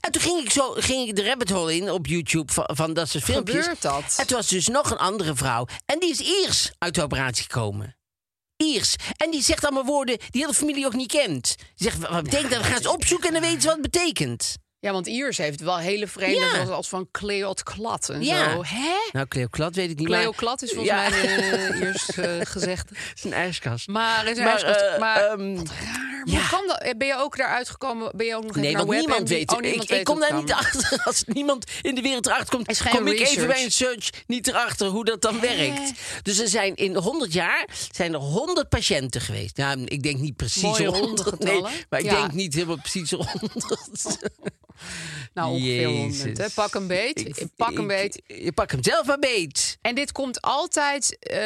Speaker 2: En toen ging ik, zo, ging ik de rabbit hole in op YouTube van, van dat soort filmpjes.
Speaker 4: Gebeurt dat?
Speaker 2: Het was dus nog een andere vrouw. En die is Iers uit de operatie gekomen. Iers. En die zegt allemaal woorden die heel de familie ook niet kent. Die zegt, wat betekent dat? Dan gaan ze opzoeken en dan weten ze wat het betekent.
Speaker 4: Ja, want Iers heeft wel hele vreemde,
Speaker 2: Ja.
Speaker 4: zoals als van Cleot Klat en
Speaker 2: Ja.
Speaker 4: zo. Hè?
Speaker 2: Nou, Cleo Klat weet ik niet.
Speaker 4: Cleo
Speaker 2: maar-
Speaker 4: Klat is volgens
Speaker 2: Ja.
Speaker 4: mij eh, Iers eh, gezegd.
Speaker 2: Zijn ijskast.
Speaker 4: Maar, is er
Speaker 2: Maar,
Speaker 4: ergens-
Speaker 2: eh,
Speaker 4: maar,
Speaker 2: ehm,
Speaker 4: wat raar.
Speaker 2: ja.
Speaker 4: Hoe kan dat? Eh, Ben je ook daaruit gekomen? Ben je ook nog even
Speaker 2: Nee,
Speaker 4: naar
Speaker 2: want
Speaker 4: web
Speaker 2: nou, niemand
Speaker 4: en-
Speaker 2: weet,
Speaker 4: oh,
Speaker 2: het.
Speaker 4: niemand
Speaker 2: ik,
Speaker 4: weet
Speaker 2: ik kom
Speaker 4: het
Speaker 2: daar
Speaker 4: dan.
Speaker 2: niet achter. Als niemand in de wereld erachter komt,
Speaker 4: Er is geen
Speaker 2: kom ik even
Speaker 4: research.
Speaker 2: bij een search niet erachter hoe dat dan werkt. Dus er zijn in 100 jaar zijn er 100 patiënten geweest. Nou, ik denk niet precies
Speaker 4: Mooie ronde
Speaker 2: 100. Nee,
Speaker 4: getallen.
Speaker 2: maar ik
Speaker 4: Ja.
Speaker 2: denk niet helemaal precies 100.
Speaker 4: Nou, ongeveer
Speaker 2: Jezus.
Speaker 4: 100. Hè? Pak een beet.
Speaker 2: Ik-
Speaker 4: pak een
Speaker 2: ik-
Speaker 4: beet.
Speaker 2: Je pak hem zelf maar beet.
Speaker 4: En dit komt altijd eh,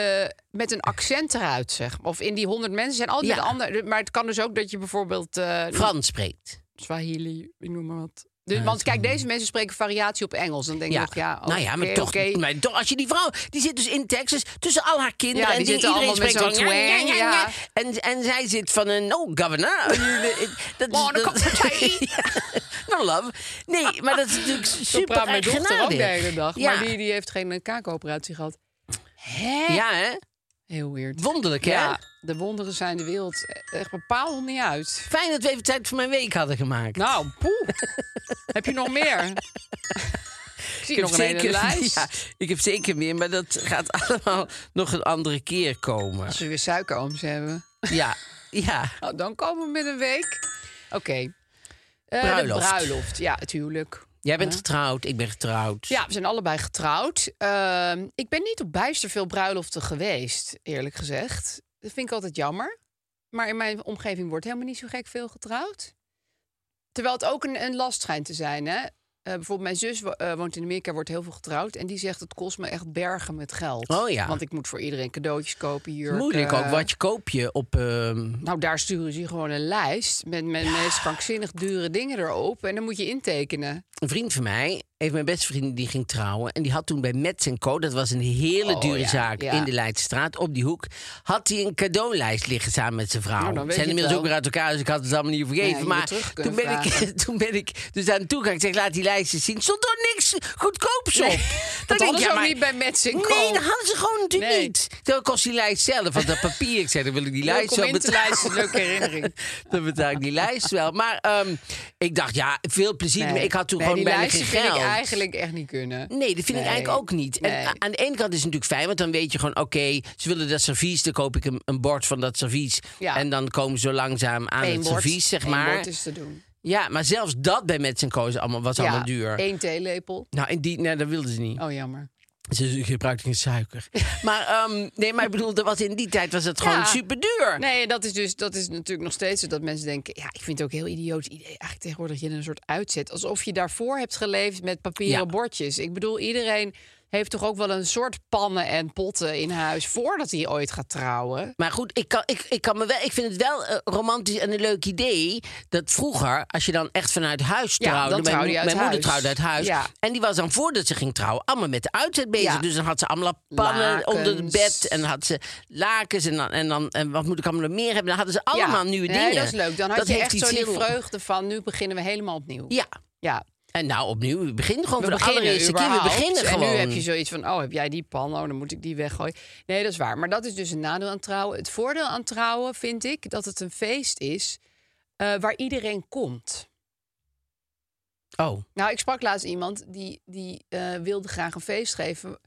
Speaker 4: met een accent eruit, zeg. Of in die 100 mensen zijn altijd
Speaker 2: Ja.
Speaker 4: met ander. Maar het kan dus ook dat je bijvoorbeeld eh,
Speaker 2: Frans spreekt.
Speaker 4: Swahili, ik noem maar wat. Dus, want kijk, deze mensen spreken variatie op Engels. Dan denk je nog, ja,
Speaker 2: nou ja, maar,
Speaker 4: oké,
Speaker 2: toch,
Speaker 4: oké.
Speaker 2: maar toch, als je die vrouw, die zit dus in Texas tussen al haar kinderen
Speaker 4: Ja,
Speaker 2: en
Speaker 4: die
Speaker 2: dingen,
Speaker 4: zitten
Speaker 2: iedereen spreekt
Speaker 4: allemaal met
Speaker 2: gewoon,
Speaker 4: zo'n
Speaker 2: ja, ja,
Speaker 4: twang,
Speaker 2: ja, ja.
Speaker 4: ja.
Speaker 2: En, en zij zit van een oh governor. eh, dat,
Speaker 4: Oh, dan komt zij.
Speaker 2: Ja, nou love. Nee, maar dat is natuurlijk
Speaker 4: Zo
Speaker 2: super
Speaker 4: praat mijn dochter ook de
Speaker 2: eigenaardig.
Speaker 4: hele dag.
Speaker 2: Ja,
Speaker 4: Maar die, die heeft geen eh, kaakoperatie gehad. Hè?
Speaker 2: ja, hè?
Speaker 4: Heel weird.
Speaker 2: Wonderlijk, hè?
Speaker 4: Ja, de wonderen zijn de wereld eh, echt bepaald niet uit.
Speaker 2: Fijn dat we even tijd voor mijn week hadden gemaakt.
Speaker 4: Nou, poeh. Heb je nog meer? Ik zie nog een hele lijst.
Speaker 2: ja, ik heb zeker meer, maar dat gaat allemaal nog een andere keer komen.
Speaker 4: Als we weer suikerooms hebben.
Speaker 2: Ja, ja.
Speaker 4: Nou, dan komen we met een week. Oké. Eh,
Speaker 2: Bruiloft.
Speaker 4: De bruiloft, ja, het huwelijk.
Speaker 2: Jij bent getrouwd, ik ben getrouwd.
Speaker 4: Ja, we zijn allebei getrouwd. Ehm, ik ben niet op bijster veel bruiloften geweest, eerlijk gezegd. Dat vind ik altijd jammer. Maar in mijn omgeving wordt helemaal niet zo gek veel getrouwd. Terwijl het ook een, een last schijnt te zijn. Hè? Eh, bijvoorbeeld mijn zus wo- eh, woont in Amerika, wordt heel veel getrouwd. En die zegt, het kost me echt bergen met geld.
Speaker 2: Oh ja.
Speaker 4: Want ik moet voor iedereen cadeautjes kopen, jurken.
Speaker 2: Moeilijk ook. Wat je koop je op... ehm,
Speaker 4: Nou, daar sturen ze je gewoon een lijst met, met meest krankzinnig dure dingen erop. En dan moet je intekenen.
Speaker 2: een vriend van mij heeft mijn beste vriend die ging trouwen. En die had toen bij Mets Co. Dat was een hele
Speaker 4: Oh,
Speaker 2: dure
Speaker 4: ja,
Speaker 2: zaak
Speaker 4: ja.
Speaker 2: in de Leidstraat. Op die hoek had hij een cadeaulijst liggen samen met zijn vrouw.
Speaker 4: Nou, dan weet
Speaker 2: Ze zijn
Speaker 4: je het
Speaker 2: inmiddels ook
Speaker 4: wel.
Speaker 2: weer uit elkaar, dus ik had het allemaal niet
Speaker 4: Ja,
Speaker 2: vergeten.
Speaker 4: je
Speaker 2: maar
Speaker 4: moet terug
Speaker 2: toen
Speaker 4: kunnen
Speaker 2: ben, ik,
Speaker 4: vragen.
Speaker 2: toen ben ik dus aan hem toe gegaan. Ik zeg, laat die lijsten zien. Stond er niks goedkoops op. Dan
Speaker 4: Dat
Speaker 2: denk
Speaker 4: hadden
Speaker 2: ik,
Speaker 4: ze
Speaker 2: ja,
Speaker 4: ook
Speaker 2: maar-
Speaker 4: niet bij Mets Co.
Speaker 2: Nee, dat hadden ze gewoon natuurlijk
Speaker 4: Nee.
Speaker 2: niet. Dan kost die lijst zelf, want dat papier. Ik zei, dan wil ik die
Speaker 4: Leuk
Speaker 2: lijst
Speaker 4: om
Speaker 2: wel
Speaker 4: in te
Speaker 2: betalen.
Speaker 4: lijsten, leuke herinnering.
Speaker 2: dan betaal ik die lijst wel. Maar ehm, ik dacht, ja, veel plezier. maar ik had toen
Speaker 4: nee,
Speaker 2: gewoon
Speaker 4: die
Speaker 2: bijna geen
Speaker 4: lijsten vind
Speaker 2: geld.
Speaker 4: ik eigenlijk echt niet kunnen.
Speaker 2: Nee, dat vind ik
Speaker 4: Nee.
Speaker 2: eigenlijk ook niet. En eh,
Speaker 4: Nee.
Speaker 2: a- aan de ene kant is het natuurlijk fijn, want dan weet je gewoon... oké, ze willen dat servies, dan koop ik een, een bord van dat servies.
Speaker 4: Ja.
Speaker 2: En dan komen ze langzaam aan
Speaker 4: Eén
Speaker 2: het
Speaker 4: bord.
Speaker 2: servies, zeg
Speaker 4: Eén
Speaker 2: maar.
Speaker 4: bord is te doen.
Speaker 2: Ja, maar zelfs dat bij Mets Co is allemaal, was allemaal duur.
Speaker 4: één theelepel.
Speaker 2: Nou, en die, nee, dat wilden ze niet.
Speaker 4: Oh, jammer.
Speaker 2: Ze gebruikte geen suiker. maar, ehm, nee, maar ik bedoel, dat was in die tijd was het gewoon
Speaker 4: Ja.
Speaker 2: super duur.
Speaker 4: Nee, dat is dus dat is natuurlijk nog steeds zo dat mensen denken... ja, ik vind het ook een heel idioot idee eigenlijk tegenwoordig... dat je een soort uitzet. Alsof je daarvoor hebt geleefd met papieren
Speaker 2: Ja.
Speaker 4: bordjes. Ik bedoel, iedereen heeft toch ook wel een soort pannen en potten in huis... voordat hij ooit gaat trouwen.
Speaker 2: Maar goed, ik, kan, ik, ik, kan me wel, ik vind het wel eh, romantisch en een leuk idee. Dat vroeger, als je dan echt vanuit huis
Speaker 4: Ja,
Speaker 2: trouwde.
Speaker 4: dan
Speaker 2: mijn
Speaker 4: trouwde je
Speaker 2: mo-
Speaker 4: uit
Speaker 2: mijn moeder
Speaker 4: huis.
Speaker 2: trouwde uit huis.
Speaker 4: Ja.
Speaker 2: En die was dan voordat ze ging trouwen, allemaal met de uitzet bezig.
Speaker 4: Ja.
Speaker 2: Dus dan had ze allemaal pannen
Speaker 4: Lakens.
Speaker 2: onder het bed. En had ze lakens. En, dan, en, dan, en wat moet ik allemaal nog meer hebben? Dan hadden ze allemaal
Speaker 4: Ja.
Speaker 2: nieuwe
Speaker 4: Nee,
Speaker 2: dingen.
Speaker 4: dat is leuk. Dan had je
Speaker 2: heeft
Speaker 4: echt
Speaker 2: iets
Speaker 4: zo die
Speaker 2: heel-
Speaker 4: vreugde van... nu beginnen we helemaal opnieuw.
Speaker 2: Ja.
Speaker 4: ja.
Speaker 2: En nou, opnieuw, we beginnen gewoon
Speaker 4: We
Speaker 2: voor de
Speaker 4: beginnen
Speaker 2: allereerste keer. We
Speaker 4: überhaupt.
Speaker 2: beginnen gewoon.
Speaker 4: En nu heb je zoiets van, oh, heb jij die pan? Oh, dan moet ik die weggooien. Nee, dat is waar. Maar dat is dus een nadeel aan trouwen. Het voordeel aan trouwen vind ik dat het een feest is eh, waar iedereen komt.
Speaker 2: Oh,
Speaker 4: Nou, ik sprak laatst iemand die, die eh, wilde graag een feest geven.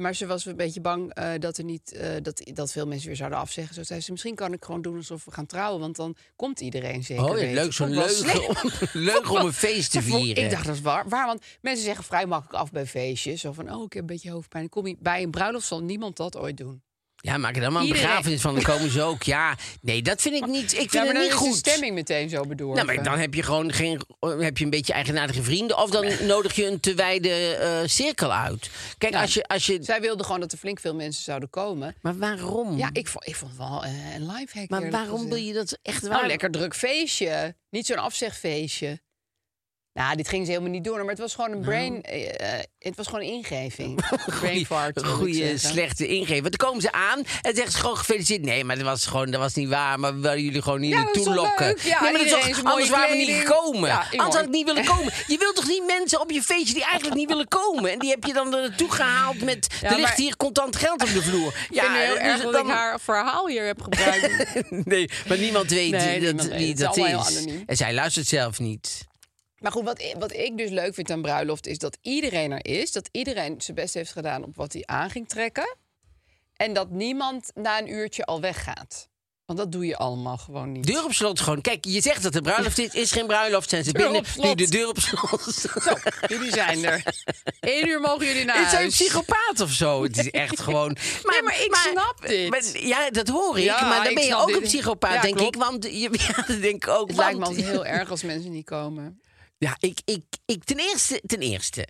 Speaker 4: Maar ze was een beetje bang eh, dat, er niet, eh, dat, dat veel mensen weer zouden afzeggen. Zo zei ze, misschien kan ik gewoon doen alsof we gaan trouwen. Want dan komt iedereen zeker
Speaker 2: oh ja,
Speaker 4: weten.
Speaker 2: leuk, zo'n
Speaker 4: Vond ik wel
Speaker 2: leugen
Speaker 4: slim.
Speaker 2: om, leuk om een feest te
Speaker 4: Ja, voor-
Speaker 2: vieren.
Speaker 4: Ik dacht, dat is waar, waar. Want mensen zeggen vrij makkelijk af bij feestjes. Zo van, oh, ik heb een beetje hoofdpijn. Kom je, bij een bruiloft zal niemand dat ooit doen.
Speaker 2: Ja, maak er dan maar een
Speaker 4: Iedereen.
Speaker 2: begrafenis van. Dan komen ze ook. Ja, nee, dat vind ik niet. Ik vind
Speaker 4: ja, maar
Speaker 2: het
Speaker 4: dan
Speaker 2: niet
Speaker 4: is
Speaker 2: goed.
Speaker 4: de stemming meteen zo bedorven.
Speaker 2: Nou, maar dan heb je gewoon geen, oh, heb je een beetje eigenaardige vrienden. Of dan nodig je een te wijde eh, cirkel uit. Kijk,
Speaker 4: Nou,
Speaker 2: als je. Als je
Speaker 4: Zij wilde gewoon dat er flink veel mensen zouden komen.
Speaker 2: maar waarom?
Speaker 4: Ja, ik vond, ik vond het wel eh, een lifehack.
Speaker 2: Mhm. maar
Speaker 4: eerlijk
Speaker 2: waarom wil
Speaker 4: gezegd.
Speaker 2: je dat echt
Speaker 4: Nou,
Speaker 2: waar?
Speaker 4: een lekker druk feestje. Niet zo'n afzegfeestje. Nou, dit ging ze helemaal niet doen. Maar het was gewoon een
Speaker 2: Nou.
Speaker 4: brain... eh, eh, het was gewoon een ingeving. brain fart. wil ik
Speaker 2: Goede,
Speaker 4: zeggen.
Speaker 2: slechte ingeving. Want dan komen ze aan en zeggen ze gewoon gefeliciteerd. Nee, maar dat was gewoon dat was niet waar. Maar we wilden jullie gewoon niet
Speaker 4: Ja, dat is
Speaker 2: naartoe
Speaker 4: toch
Speaker 2: lokken.
Speaker 4: leuk? Ja,
Speaker 2: nee, maar dat is
Speaker 4: iedereen
Speaker 2: toch-
Speaker 4: zijn mooie
Speaker 2: anders waren we niet
Speaker 4: kleding.
Speaker 2: gekomen.
Speaker 4: Ja,
Speaker 2: anders had ik
Speaker 4: mooi.
Speaker 2: niet willen komen. Je wilt toch niet mensen op je feestje die eigenlijk niet willen komen. En die heb je dan er naartoe gehaald met.
Speaker 4: Ja,
Speaker 2: er ligt
Speaker 4: maar-
Speaker 2: hier contant geld op de vloer.
Speaker 4: Ik vind het heel
Speaker 2: dus
Speaker 4: erg dat
Speaker 2: dan-
Speaker 4: ik haar verhaal hier heb gebruikt.
Speaker 2: Nee, maar niemand weet wie dat,
Speaker 4: Nee, niemand weet.
Speaker 2: wie
Speaker 4: Het is
Speaker 2: dat
Speaker 4: allemaal heel
Speaker 2: is.
Speaker 4: anoniem.
Speaker 2: En zij luistert zelf niet.
Speaker 4: Maar goed, wat ik, wat ik dus leuk vind aan bruiloft is dat iedereen er is. Dat iedereen zijn best heeft gedaan op wat hij aan ging trekken. En dat niemand na een uurtje al weggaat. Want dat doe je allemaal gewoon niet.
Speaker 2: Deur op slot gewoon. Kijk, je zegt dat de bruiloft is. Is geen bruiloft. Zijn ze
Speaker 4: Deur op
Speaker 2: binnen. Nu
Speaker 4: slot.
Speaker 2: de deur op slot.
Speaker 4: Jullie zijn er. Eén uur mogen jullie naar
Speaker 2: Het is een
Speaker 4: huis.
Speaker 2: psychopaat of zo. Het is echt gewoon. Maar,
Speaker 4: maar ik snap dit.
Speaker 2: maar- ja, dat hoor ik.
Speaker 4: Ja,
Speaker 2: maar dan
Speaker 4: ik
Speaker 2: ben je
Speaker 4: snap
Speaker 2: ook
Speaker 4: dit.
Speaker 2: een psychopaat,
Speaker 4: Ja,
Speaker 2: denk
Speaker 4: klopt.
Speaker 2: ik. Want je, ja, dat denk ik ook.
Speaker 4: Het lijkt me
Speaker 2: want-
Speaker 4: altijd heel erg als mensen niet komen.
Speaker 2: Ja, ik, ik, ik, ten, eerste, ten eerste,